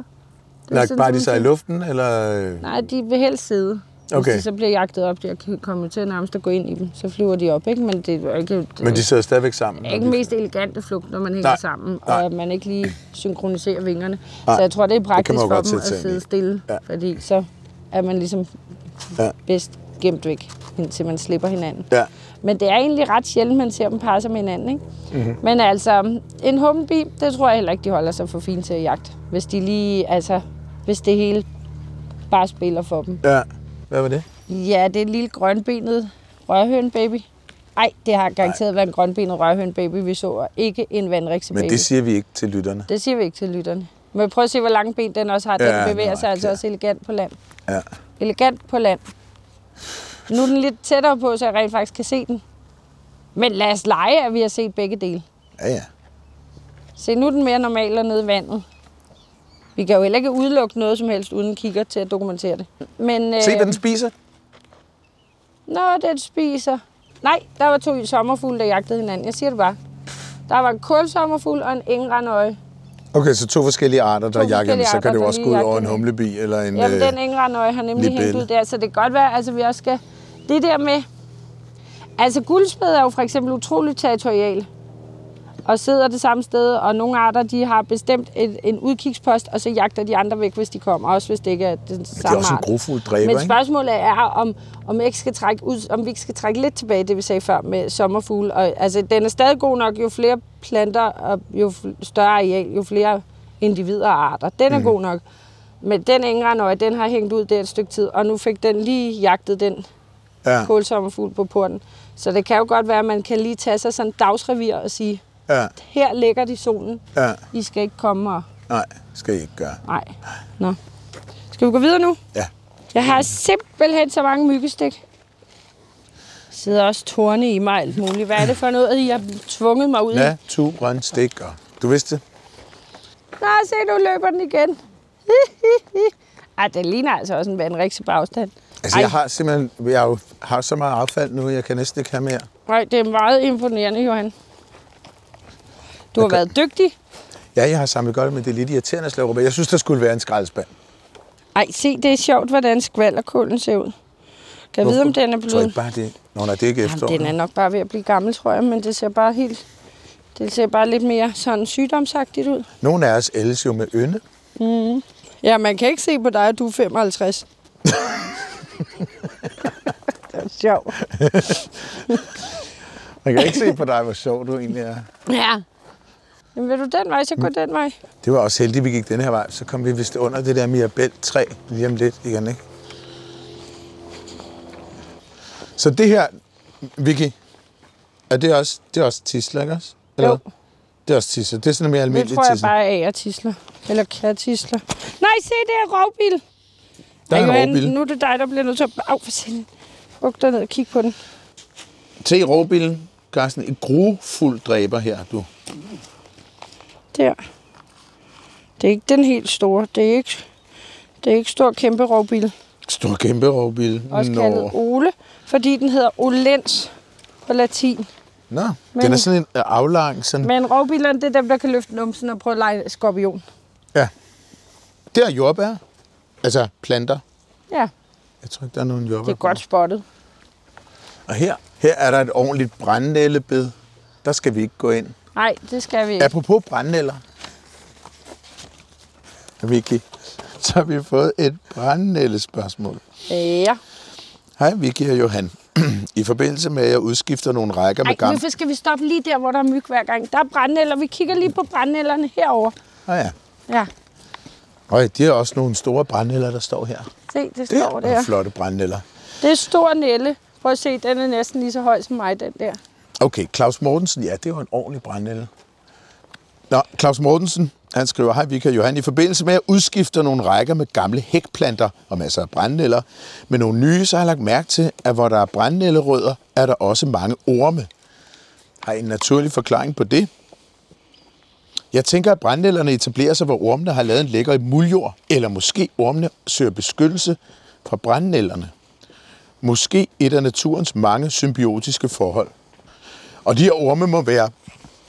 [SPEAKER 3] Det er
[SPEAKER 2] Lagt
[SPEAKER 3] altså, sådan
[SPEAKER 2] bare de
[SPEAKER 3] nogle
[SPEAKER 2] sig i
[SPEAKER 3] ting-
[SPEAKER 2] luften, eller... øh,
[SPEAKER 3] Nej, de vil helst sidde. Hvis
[SPEAKER 2] Okay.
[SPEAKER 3] de så bliver jagtet op, de kan- kommer jo til at nærmest at gå ind i dem. Så flyver de op, ikke? Men det er jo ikke, det
[SPEAKER 2] Men de sidder stadigvæk sammen.
[SPEAKER 3] er ikke den mest elegante flugt, når man hænger
[SPEAKER 2] Nej,
[SPEAKER 3] sammen,
[SPEAKER 2] nej.
[SPEAKER 3] og at man ikke lige synkroniserer vingerne.
[SPEAKER 2] Nej,
[SPEAKER 3] så jeg tror, det er praktisk
[SPEAKER 2] jo
[SPEAKER 3] for
[SPEAKER 2] godt
[SPEAKER 3] dem
[SPEAKER 2] sætte
[SPEAKER 3] at
[SPEAKER 2] sig ind i.
[SPEAKER 3] sidde stille,
[SPEAKER 2] Ja.
[SPEAKER 3] ja. fordi så er man ligesom
[SPEAKER 2] Ja.
[SPEAKER 3] ja. bedst gemt væk, indtil man slipper hinanden.
[SPEAKER 2] Ja.
[SPEAKER 3] Men det er egentlig ret sjældent, man ser dem parre sig med hinanden. Ikke?
[SPEAKER 2] Mhm.
[SPEAKER 3] Mm-hmm. Men altså, en humlebi, det tror jeg heller ikke, de holder sig for fint til at jagte. Hvis de lige, altså, hvis det hele bare spiller for dem.
[SPEAKER 2] ja. Hvad var det?
[SPEAKER 3] Ja, det er en lille grønbenet rørhøn baby. Nej, det har garanteret været en grønbenet rørhøn baby, vi så, og ikke en vandrikse
[SPEAKER 2] Men
[SPEAKER 3] baby.
[SPEAKER 2] det siger vi ikke til lytterne.
[SPEAKER 3] det siger vi ikke til lytterne. Men prøv at se, hvor lange ben den også har. Den
[SPEAKER 2] Ja,
[SPEAKER 3] bevæger
[SPEAKER 2] nej,
[SPEAKER 3] sig altså
[SPEAKER 2] ja.
[SPEAKER 3] også elegant på land.
[SPEAKER 2] Ja.
[SPEAKER 3] Elegant på land. Nu er den lidt tættere på, så jeg rent faktisk kan se den. Men lad os lege, at vi har set begge dele.
[SPEAKER 2] Ja, ja.
[SPEAKER 3] Se, nu er den mere normal og nede i vandet. Vi kan jo heller ikke udelukke noget som helst, uden kigger til Øh. at dokumentere det. Men,
[SPEAKER 2] Se, hvad
[SPEAKER 3] øh,
[SPEAKER 2] den spiser.
[SPEAKER 3] Nå, den spiser. Nej, der var to sommerfugle, der jagtede hinanden. Jeg siger det bare. Der var en kulsommerfugl og en engrenøje.
[SPEAKER 2] Okay, så to forskellige arter, der
[SPEAKER 3] To
[SPEAKER 2] jakker den,
[SPEAKER 3] forskellige
[SPEAKER 2] så kan
[SPEAKER 3] arter,
[SPEAKER 2] det jo
[SPEAKER 3] der
[SPEAKER 2] også gå
[SPEAKER 3] lige
[SPEAKER 2] ud
[SPEAKER 3] jakker
[SPEAKER 2] over en
[SPEAKER 3] den.
[SPEAKER 2] humlebi eller en...
[SPEAKER 3] Jamen,
[SPEAKER 2] øh,
[SPEAKER 3] den engrenøje har nemlig
[SPEAKER 2] Libelle.
[SPEAKER 3] hængt ud der, så det kan godt være, altså vi også skal... Det der med... Altså, guldsmed er jo for eksempel utroligt territorial og sidder det samme sted, og nogle arter, de har bestemt en, en udkigspost, og så jagter de andre væk, hvis de kommer, også hvis det ikke er den
[SPEAKER 2] det er
[SPEAKER 3] samme
[SPEAKER 2] også en
[SPEAKER 3] art.
[SPEAKER 2] grofuld dræber,
[SPEAKER 3] Men
[SPEAKER 2] ikke?
[SPEAKER 3] spørgsmålet er, om, om, jeg ikke skal trække ud, om vi ikke skal trække lidt tilbage, det vi sagde før med sommerfugle. Og, altså, den er stadig god nok, jo flere planter og jo fl- større areal, jo flere individer og arter. Den
[SPEAKER 2] Mhm.
[SPEAKER 3] er mm. god nok. Men den engrenøje, den har hængt ud der et stykke tid, og nu fik den lige jagtet den
[SPEAKER 2] Ja,
[SPEAKER 3] kålsommerfugl på porten. Så det kan jo godt være, at man kan lige tage sig sådan en dagsrevir og sige,
[SPEAKER 2] ja,
[SPEAKER 3] her ligger de i solen,
[SPEAKER 2] ja.
[SPEAKER 3] I skal ikke komme og...
[SPEAKER 2] Nej, skal I ikke gøre.
[SPEAKER 3] Nej. Nå. Skal vi gå videre nu?
[SPEAKER 2] Ja.
[SPEAKER 3] Jeg har simpelthen så mange myggestik. sidder også torne i mig alt muligt. Hvad er det for noget, I har tvunget mig ud i?
[SPEAKER 2] Ja, to grønne stik, og du vidste det?
[SPEAKER 3] Nå, se, nu løber den igen. Ej, den ligner altså også en vandrikse på afstand.
[SPEAKER 2] Altså,
[SPEAKER 3] Ej.
[SPEAKER 2] jeg har simpelthen, jeg har jo- har så meget affald nu, jeg kan næsten ikke have mere.
[SPEAKER 3] Nej, det er meget imponerende, Johan. Du har
[SPEAKER 2] Okay.
[SPEAKER 3] været dygtig.
[SPEAKER 2] Ja, jeg har samlet godt, men det er lidt irriterende at slå rubber. Jeg synes, der skulle være en skraldespand.
[SPEAKER 3] Ej, se, det er sjovt, hvordan skvalderkålen ser ud. Kan jeg vide, om den er
[SPEAKER 2] Tror jeg
[SPEAKER 3] blevet...
[SPEAKER 2] ikke bare det? Nå, nej, det er ikke
[SPEAKER 3] Jamen,
[SPEAKER 2] efterår.
[SPEAKER 3] den er nok bare ved at blive gammel, tror jeg, men det ser bare helt... Det ser bare lidt mere sådan sygdomsagtigt ud.
[SPEAKER 2] Nogle af os ældes jo med ynde.
[SPEAKER 3] Ja, man kan ikke se på dig, at du er 55. det er sjovt.
[SPEAKER 2] Man kan ikke se på dig, hvor sjov du egentlig er.
[SPEAKER 3] Ja. Jamen, vil du den vej, så gå den vej.
[SPEAKER 2] Det var også heldigt, vi gik den her vej. Så kom vi vist under det der Mirabel-træ lige om lidt igen, ikke? Så det her, Vicky, er det også, det er også tisler, ikke også?
[SPEAKER 3] Jo.
[SPEAKER 2] hvad? Det er også tisler. Det er sådan en mere
[SPEAKER 3] Nu
[SPEAKER 2] almindelig
[SPEAKER 3] tror jeg
[SPEAKER 2] tisler.
[SPEAKER 3] bare, at jeg tisler. Eller kan tisler. Nej, se, det er rovbil.
[SPEAKER 2] Der er
[SPEAKER 3] Ej,
[SPEAKER 2] en
[SPEAKER 3] Johan,
[SPEAKER 2] råbil.
[SPEAKER 3] Nu er det dig, der bliver nødt til at... Au, for sind. Buk dig ned og kig på den.
[SPEAKER 2] Se råbilen, Carsten. En grufuld dræber her, du.
[SPEAKER 3] Der. Det er ikke den helt store. Det er ikke, det er ikke stor kæmpe rovbil.
[SPEAKER 2] Stor kæmpe råbil.
[SPEAKER 3] Også Nå. kaldet Ole, fordi den hedder Olens på latin.
[SPEAKER 2] Nå,
[SPEAKER 3] Men-
[SPEAKER 2] den er sådan en øh, aflang. Sådan.
[SPEAKER 3] Men rovbilerne, det er dem, der kan løfte numsen og prøve at lege skorpion.
[SPEAKER 2] Ja. Der er jordbær. Altså planter.
[SPEAKER 3] Ja,
[SPEAKER 2] Jeg tror ikke, der er nogen jordbær.
[SPEAKER 3] det er godt spottet.
[SPEAKER 2] Og her, her er der et ordentligt brændenællebed. Der skal vi ikke gå ind.
[SPEAKER 3] Nej, det skal vi ikke.
[SPEAKER 2] Apropos brændenæller. Vicky, så har vi fået et brændenællespørgsmål.
[SPEAKER 3] Ja.
[SPEAKER 2] Hej Vicky og Johan. I forbindelse med, at jeg udskifter nogle rækker med
[SPEAKER 3] Ej,
[SPEAKER 2] gamle...
[SPEAKER 3] nu skal vi stoppe lige der, hvor der er myg hver gang. Der er brændenælder. Vi kigger lige på brændenælderne herover.
[SPEAKER 2] Ah, ja.
[SPEAKER 3] Ja,
[SPEAKER 2] Øj, det er også nogle store brændenæller, der står her.
[SPEAKER 3] se, det står
[SPEAKER 2] Nogle
[SPEAKER 3] der.
[SPEAKER 2] flotte brændenæller.
[SPEAKER 3] Det er stor nælle. Prøv at se, den er næsten lige så høj som mig, den der.
[SPEAKER 2] Okay, Claus Mortensen, ja, det var en ordentlig brændenælde. Nå, Claus Mortensen, han skriver, Hej Vika Johan, i forbindelse med at udskifte nogle rækker med gamle hækplanter og masser af brændenælder, med nogle nye, så har jeg lagt mærke til, at hvor der er brændenælderødder, er der også mange orme. Har I en naturlig forklaring på det? Jeg tænker, at brændenælderne etablerer sig, hvor ormene har lavet en lækker i muljord, eller måske ormene søger beskyttelse fra brændenælderne. Måske et af naturens mange symbiotiske forhold. Og de her orme må være,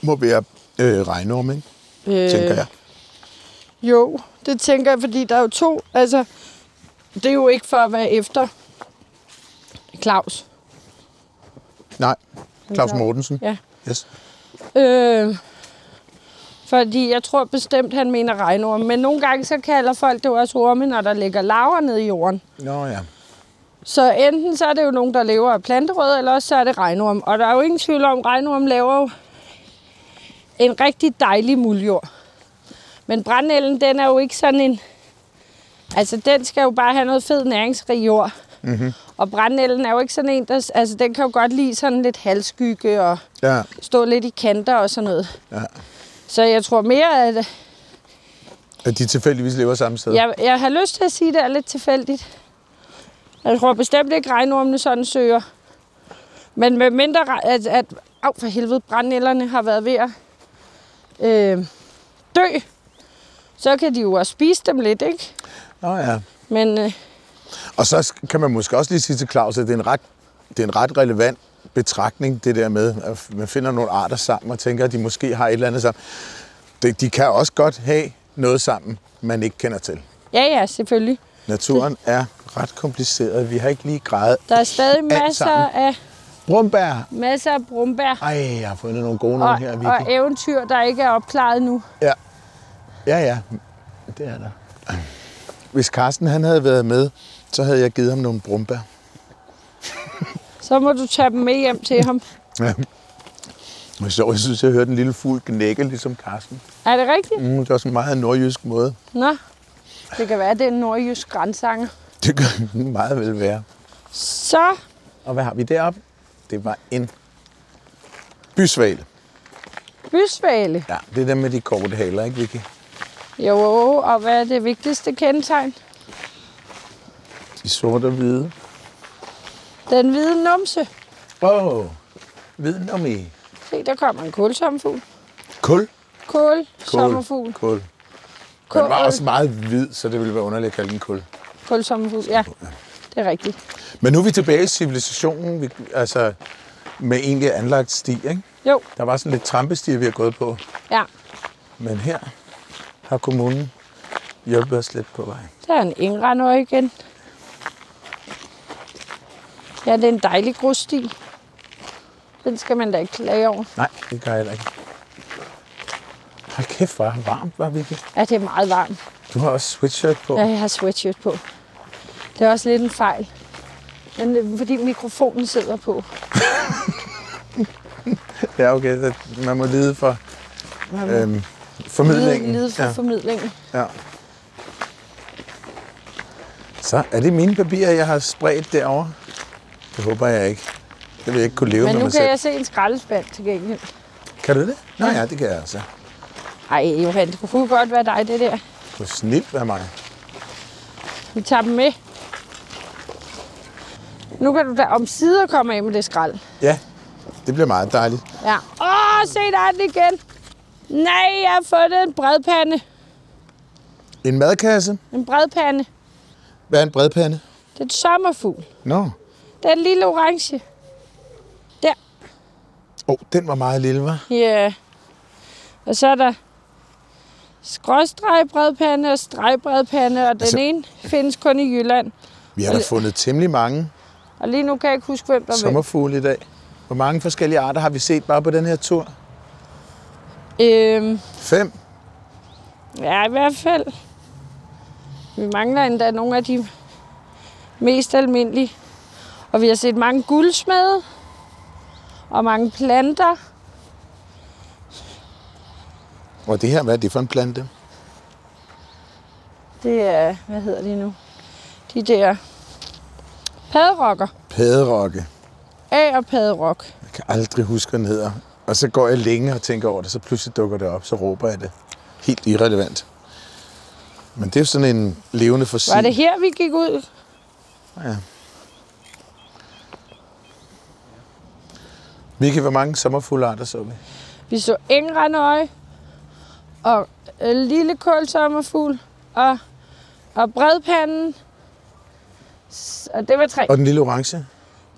[SPEAKER 2] må være øh, regnorme, ikke? Øh. tænker jeg.
[SPEAKER 3] Jo, det tænker jeg, fordi der er jo to. Altså, det er jo ikke for at være efter Claus.
[SPEAKER 2] Nej, Claus
[SPEAKER 3] klar.
[SPEAKER 2] Mortensen.
[SPEAKER 3] Ja.
[SPEAKER 2] Yes.
[SPEAKER 3] Øh, fordi jeg tror bestemt, han mener regnorm. Men nogle gange så kalder folk det jo også orme, når der ligger laver nede i jorden.
[SPEAKER 2] Nå ja.
[SPEAKER 3] Så enten så er det jo nogen, der lever af planterød, eller også så er det regnorm. Og der er jo ingen tvivl om, at regnorm laver jo en rigtig dejlig muljord. Men brændenælden, den er jo ikke sådan en... Altså, den skal jo bare have noget fed næringsrig jord. Mm-hmm. Og brændenælden er jo ikke sådan en, der... Altså, den kan jo godt lide sådan lidt halvskygge og
[SPEAKER 2] Ja,
[SPEAKER 3] stå lidt i kanter og sådan noget.
[SPEAKER 2] Ja.
[SPEAKER 3] Så jeg tror mere, at
[SPEAKER 2] at de tilfældigvis lever samme sted.
[SPEAKER 3] jeg, jeg har lyst til at sige, at det er lidt tilfældigt. Jeg tror bestemt ikke, at regnormene sådan søger. Men med mindre, re- at, at au, for helvede, brændenælderne har været ved at øh, dø, så kan de jo også spise dem lidt, ikke?
[SPEAKER 2] Nå ja.
[SPEAKER 3] Men øh,
[SPEAKER 2] Og så sk- kan man måske også lige sige til Claus, at det er en ret, det er en ret relevant betragtning, det der med, at man finder nogle arter sammen og tænker, at de måske har et eller andet sammen. De, de kan også godt have noget sammen, man ikke kender til.
[SPEAKER 3] Ja, ja, selvfølgelig.
[SPEAKER 2] Naturen er ret kompliceret. Vi har ikke lige grejet
[SPEAKER 3] Der er stadig
[SPEAKER 2] alt
[SPEAKER 3] masser
[SPEAKER 2] sammen.
[SPEAKER 3] af,
[SPEAKER 2] Brumbær!
[SPEAKER 3] masser af brumbær
[SPEAKER 2] Ej, jeg har fundet nogle gode
[SPEAKER 3] og,
[SPEAKER 2] nogle her,
[SPEAKER 3] og
[SPEAKER 2] virkelig.
[SPEAKER 3] eventyr, der ikke er opklaret nu.
[SPEAKER 2] Ja. ja, ja, det er der. Hvis Carsten han havde været med, så havde jeg givet ham nogle brumbær.
[SPEAKER 3] Så må du tage dem med hjem til ham.
[SPEAKER 2] Ja. Og så, jeg synes, jeg hørte en lille fugl gnække, ligesom Carsten.
[SPEAKER 3] Er det rigtigt?
[SPEAKER 2] Mm, det var sådan en meget nordjysk måde.
[SPEAKER 3] Nå, det kan være, det er en nordjysk grænsanger.
[SPEAKER 2] Det kan den meget vel være.
[SPEAKER 3] Så
[SPEAKER 2] Og hvad har vi deroppe? Det var en bysvale.
[SPEAKER 3] bysvale.
[SPEAKER 2] Ja, det er dem med de korte haler, ikke Vicky?
[SPEAKER 3] Jo, og hvad er det vigtigste kendetegn?
[SPEAKER 2] De sorte og hvide.
[SPEAKER 3] Den hvide numse.
[SPEAKER 2] Åh, oh, viden om i.
[SPEAKER 3] Se, der kommer en kulsommerfugl.
[SPEAKER 2] Kul.
[SPEAKER 3] Kål, sommerfugl.
[SPEAKER 2] Kul.
[SPEAKER 3] Kål,
[SPEAKER 2] Den var også meget hvid, så det ville være underligt at kalde den kul.
[SPEAKER 3] kulsommerfugl. Ja, det er rigtigt.
[SPEAKER 2] Men nu er vi tilbage i civilisationen, vi, altså med egentlig anlagt sti, ikke?
[SPEAKER 3] Jo,
[SPEAKER 2] Der var sådan lidt trampestier, vi har gået på.
[SPEAKER 3] ja.
[SPEAKER 2] Men her har kommunen hjulpet os lidt på vej.
[SPEAKER 3] Der er en engrender igen. Ja, det er en dejlig grussti. Den skal man da ikke klage over.
[SPEAKER 2] Nej, det gør jeg heller ikke. Hold kæft, hvor er det varmt, var Vicky.
[SPEAKER 3] Ja, det er meget varmt.
[SPEAKER 2] Du har også sweatshirt på.
[SPEAKER 3] Ja, jeg har sweatshirt på. Det er også lidt en fejl. Men det er, fordi mikrofonen sidder på.
[SPEAKER 2] Ja, okay. Så man må lide for øhm, formidlingen.
[SPEAKER 3] Lide for ja. formidlingen.
[SPEAKER 2] ja, ja. Så er det mine papirer, jeg har spredt derovre? Det håber jeg ikke. Det vil jeg ikke kunne leve
[SPEAKER 3] Men
[SPEAKER 2] med
[SPEAKER 3] nu
[SPEAKER 2] mig
[SPEAKER 3] kan
[SPEAKER 2] selv.
[SPEAKER 3] jeg se en skraldespand til gengæld.
[SPEAKER 2] Kan du det? Nå ja, det kan jeg altså.
[SPEAKER 3] Ej, Johan, det kunne godt være dig, det der.
[SPEAKER 2] Du snit af mig.
[SPEAKER 3] Vi tager dem med. Nu kan du da om sider komme af med det skrald.
[SPEAKER 2] Ja, det bliver meget dejligt.
[SPEAKER 3] Ja. Åh, se der er den igen. Nej, jeg har fundet en bredpande.
[SPEAKER 2] En madkasse.
[SPEAKER 3] En bredpande.
[SPEAKER 2] Hvad er en bredpande?
[SPEAKER 3] Det er en sommerfugl.
[SPEAKER 2] Nå. No.
[SPEAKER 3] Den lille orange. Der.
[SPEAKER 2] Åh, oh, den var meget lille, var.
[SPEAKER 3] Ja. Yeah. Og så er der skråstregbredpande og stregbredpande, og den
[SPEAKER 2] Altså-
[SPEAKER 3] altså... ene findes kun i Jylland.
[SPEAKER 2] Vi har da fundet temmelig mange
[SPEAKER 3] Og lige nu kan jeg ikke huske, hvem der Sommer...
[SPEAKER 2] sommerfugle i dag. Hvor mange forskellige arter har vi set bare på den her tur?
[SPEAKER 3] øhm,
[SPEAKER 2] Fem.
[SPEAKER 3] Ja, i hvert fald. Vi mangler endda nogle af de mest almindelige. Og vi har set mange guldsmede og mange planter.
[SPEAKER 2] Og det her, hvad er det for en plante?
[SPEAKER 3] Det er, hvad hedder de nu? De der padderokker.
[SPEAKER 2] Padderokke.
[SPEAKER 3] A og padderok.
[SPEAKER 2] Jeg kan aldrig huske, hvad den hedder. Og så går jeg længe og tænker over det, så pludselig dukker det op, så råber jeg det. Helt irrelevant. Men det er jo sådan en levende fossil.
[SPEAKER 3] Var det her, vi gik ud?
[SPEAKER 2] Ja. Mikke, hvor mange sommerfuglearter så vi?
[SPEAKER 3] Vi så engrandøje og øh, lille kålsommerfugl og, og bredpanden. S- Og det var tre.
[SPEAKER 2] Og den lille orange?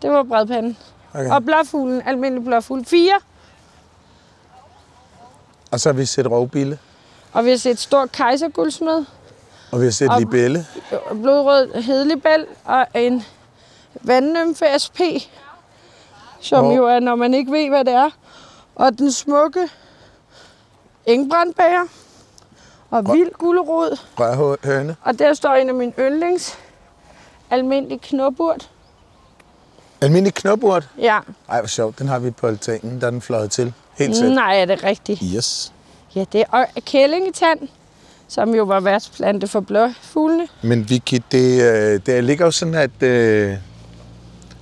[SPEAKER 3] Det var bredpanden.
[SPEAKER 2] Okay.
[SPEAKER 3] Og blåfuglen, almindelig blåfugl, fire.
[SPEAKER 2] Og så har vi set rovbille,
[SPEAKER 3] Og vi har set stor kejserguldsmed,
[SPEAKER 2] og vi har set
[SPEAKER 3] Og-
[SPEAKER 2] libelle.
[SPEAKER 3] øh, blodrød hedlibel og en vandnymfe SP, som
[SPEAKER 2] Hvor-
[SPEAKER 3] jo er, når man ikke ved, hvad det er. Og den smukke engbrandbæger og vild gulerod.
[SPEAKER 2] Rørhøne.
[SPEAKER 3] Og der står en af mine yndlings, almindelig knoburt.
[SPEAKER 2] Almindelig knopurt.
[SPEAKER 3] Ja,
[SPEAKER 2] Ej, hvor sjovt. Den har vi på altanen, der er den fløjet til. Helt selv.
[SPEAKER 3] nej, er det rigtigt?
[SPEAKER 2] Yes.
[SPEAKER 3] Ja, det er og kællingetand, som jo var værtsplante for blåfuglene.
[SPEAKER 2] Men Vicky, det, øh, det ligger jo sådan, at, øh,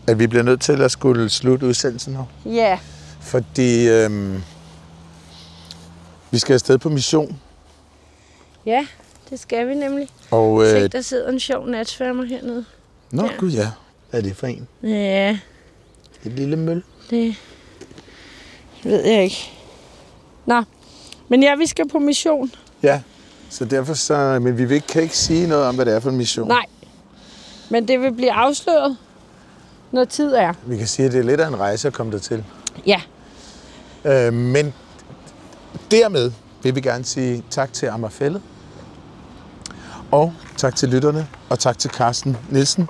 [SPEAKER 2] at vi bliver nødt til at skulle slutte udsendelsen nu.
[SPEAKER 3] Ja,
[SPEAKER 2] Fordi øh, vi skal afsted på mission.
[SPEAKER 3] ja, det skal vi nemlig.
[SPEAKER 2] Og,
[SPEAKER 3] Se,
[SPEAKER 2] øh,
[SPEAKER 3] der sidder en sjov natsværmer hernede.
[SPEAKER 2] nå, gud ja. Hvad er det for en?
[SPEAKER 3] Ja,
[SPEAKER 2] Et lille møl.
[SPEAKER 3] det ved jeg ikke. Nå, men ja, vi skal på mission.
[SPEAKER 2] Ja. Så derfor så... Men vi vil- kan ikke sige noget om, hvad det er for en mission.
[SPEAKER 3] Nej, men det vil blive afsløret noget tid er.
[SPEAKER 2] Vi kan sige, at det er lidt af en rejse at komme dertil.
[SPEAKER 3] Ja,
[SPEAKER 2] Øh, men dermed vil vi gerne sige tak til Amagerfællet. Og tak til lytterne, og tak til Carsten Nielsen,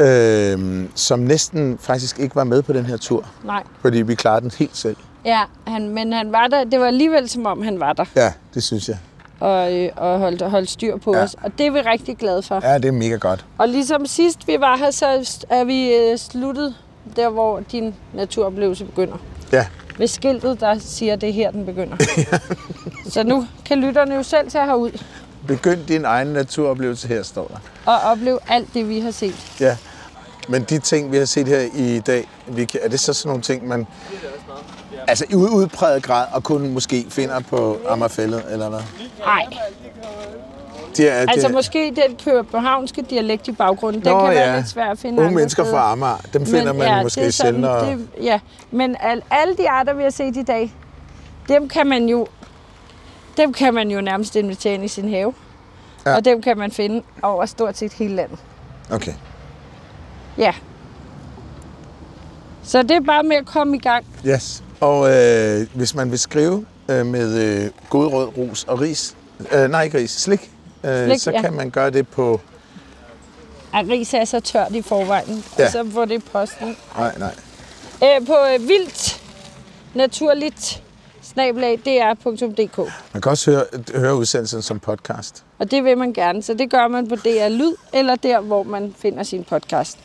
[SPEAKER 2] øh, som næsten faktisk ikke var med på den her tur,
[SPEAKER 3] nej.
[SPEAKER 2] fordi vi klarede den helt selv.
[SPEAKER 3] Ja, han, men han var der. Det var alligevel som om, han var der
[SPEAKER 2] Ja, det synes jeg.
[SPEAKER 3] og, øh, og holdt, holdt styr på
[SPEAKER 2] Ja.
[SPEAKER 3] ja. os. Og det er vi rigtig glade for. Ja.
[SPEAKER 2] Ja, det er mega godt.
[SPEAKER 3] Og ligesom sidst vi var her, så er vi øh, sluttet der, hvor din naturoplevelse begynder.
[SPEAKER 2] Ja,
[SPEAKER 3] Ved skiltet, der siger, det er her, den begynder. så nu kan lytterne jo selv tage herud
[SPEAKER 2] begynd din egen naturoplevelse her, står der.
[SPEAKER 3] og opleve alt det, vi har set.
[SPEAKER 2] Ja, men de ting, vi har set her i dag, vi kan, er det så sådan nogle ting, man altså i udpræget grad, og kun måske finder på Amagerfællet, eller hvad?
[SPEAKER 3] Nej,
[SPEAKER 2] Det er,
[SPEAKER 3] altså
[SPEAKER 2] det,
[SPEAKER 3] måske den københavnske dialekt i baggrunden, den
[SPEAKER 2] Nå,
[SPEAKER 3] kan være
[SPEAKER 2] ja.
[SPEAKER 3] lidt svær at finde
[SPEAKER 2] unge
[SPEAKER 3] andre
[SPEAKER 2] mennesker
[SPEAKER 3] steder.
[SPEAKER 2] fra Amager, dem finder man
[SPEAKER 3] ja, det
[SPEAKER 2] måske
[SPEAKER 3] er sådan,
[SPEAKER 2] sjældnere.
[SPEAKER 3] Det, ja, men al, alle de arter, vi har set i dag, dem kan man jo, dem kan man jo nærmest invitere ind i sin have.
[SPEAKER 2] Ja.
[SPEAKER 3] Ja. Og dem kan man finde over stort set hele landet.
[SPEAKER 2] Okay.
[SPEAKER 3] Ja. Så det er bare med at komme i gang.
[SPEAKER 2] Yes. Og øh, hvis man vil skrive øh, med øh, god rød, rus og ris, øh, nej ikke ris, slik, øh,
[SPEAKER 3] Slik,
[SPEAKER 2] så
[SPEAKER 3] ja.
[SPEAKER 2] kan man gøre det på,
[SPEAKER 3] At ris er så tørt i forvejen,
[SPEAKER 2] Ja.
[SPEAKER 3] og så får det i posten.
[SPEAKER 2] nej, nej,
[SPEAKER 3] Øh, på øh, vildt naturligt snablag, dr.dk.
[SPEAKER 2] man kan også høre, høre udsendelsen som podcast.
[SPEAKER 3] Og det vil man gerne, så det gør man på DR Lyd, eller der, hvor man finder sin podcast.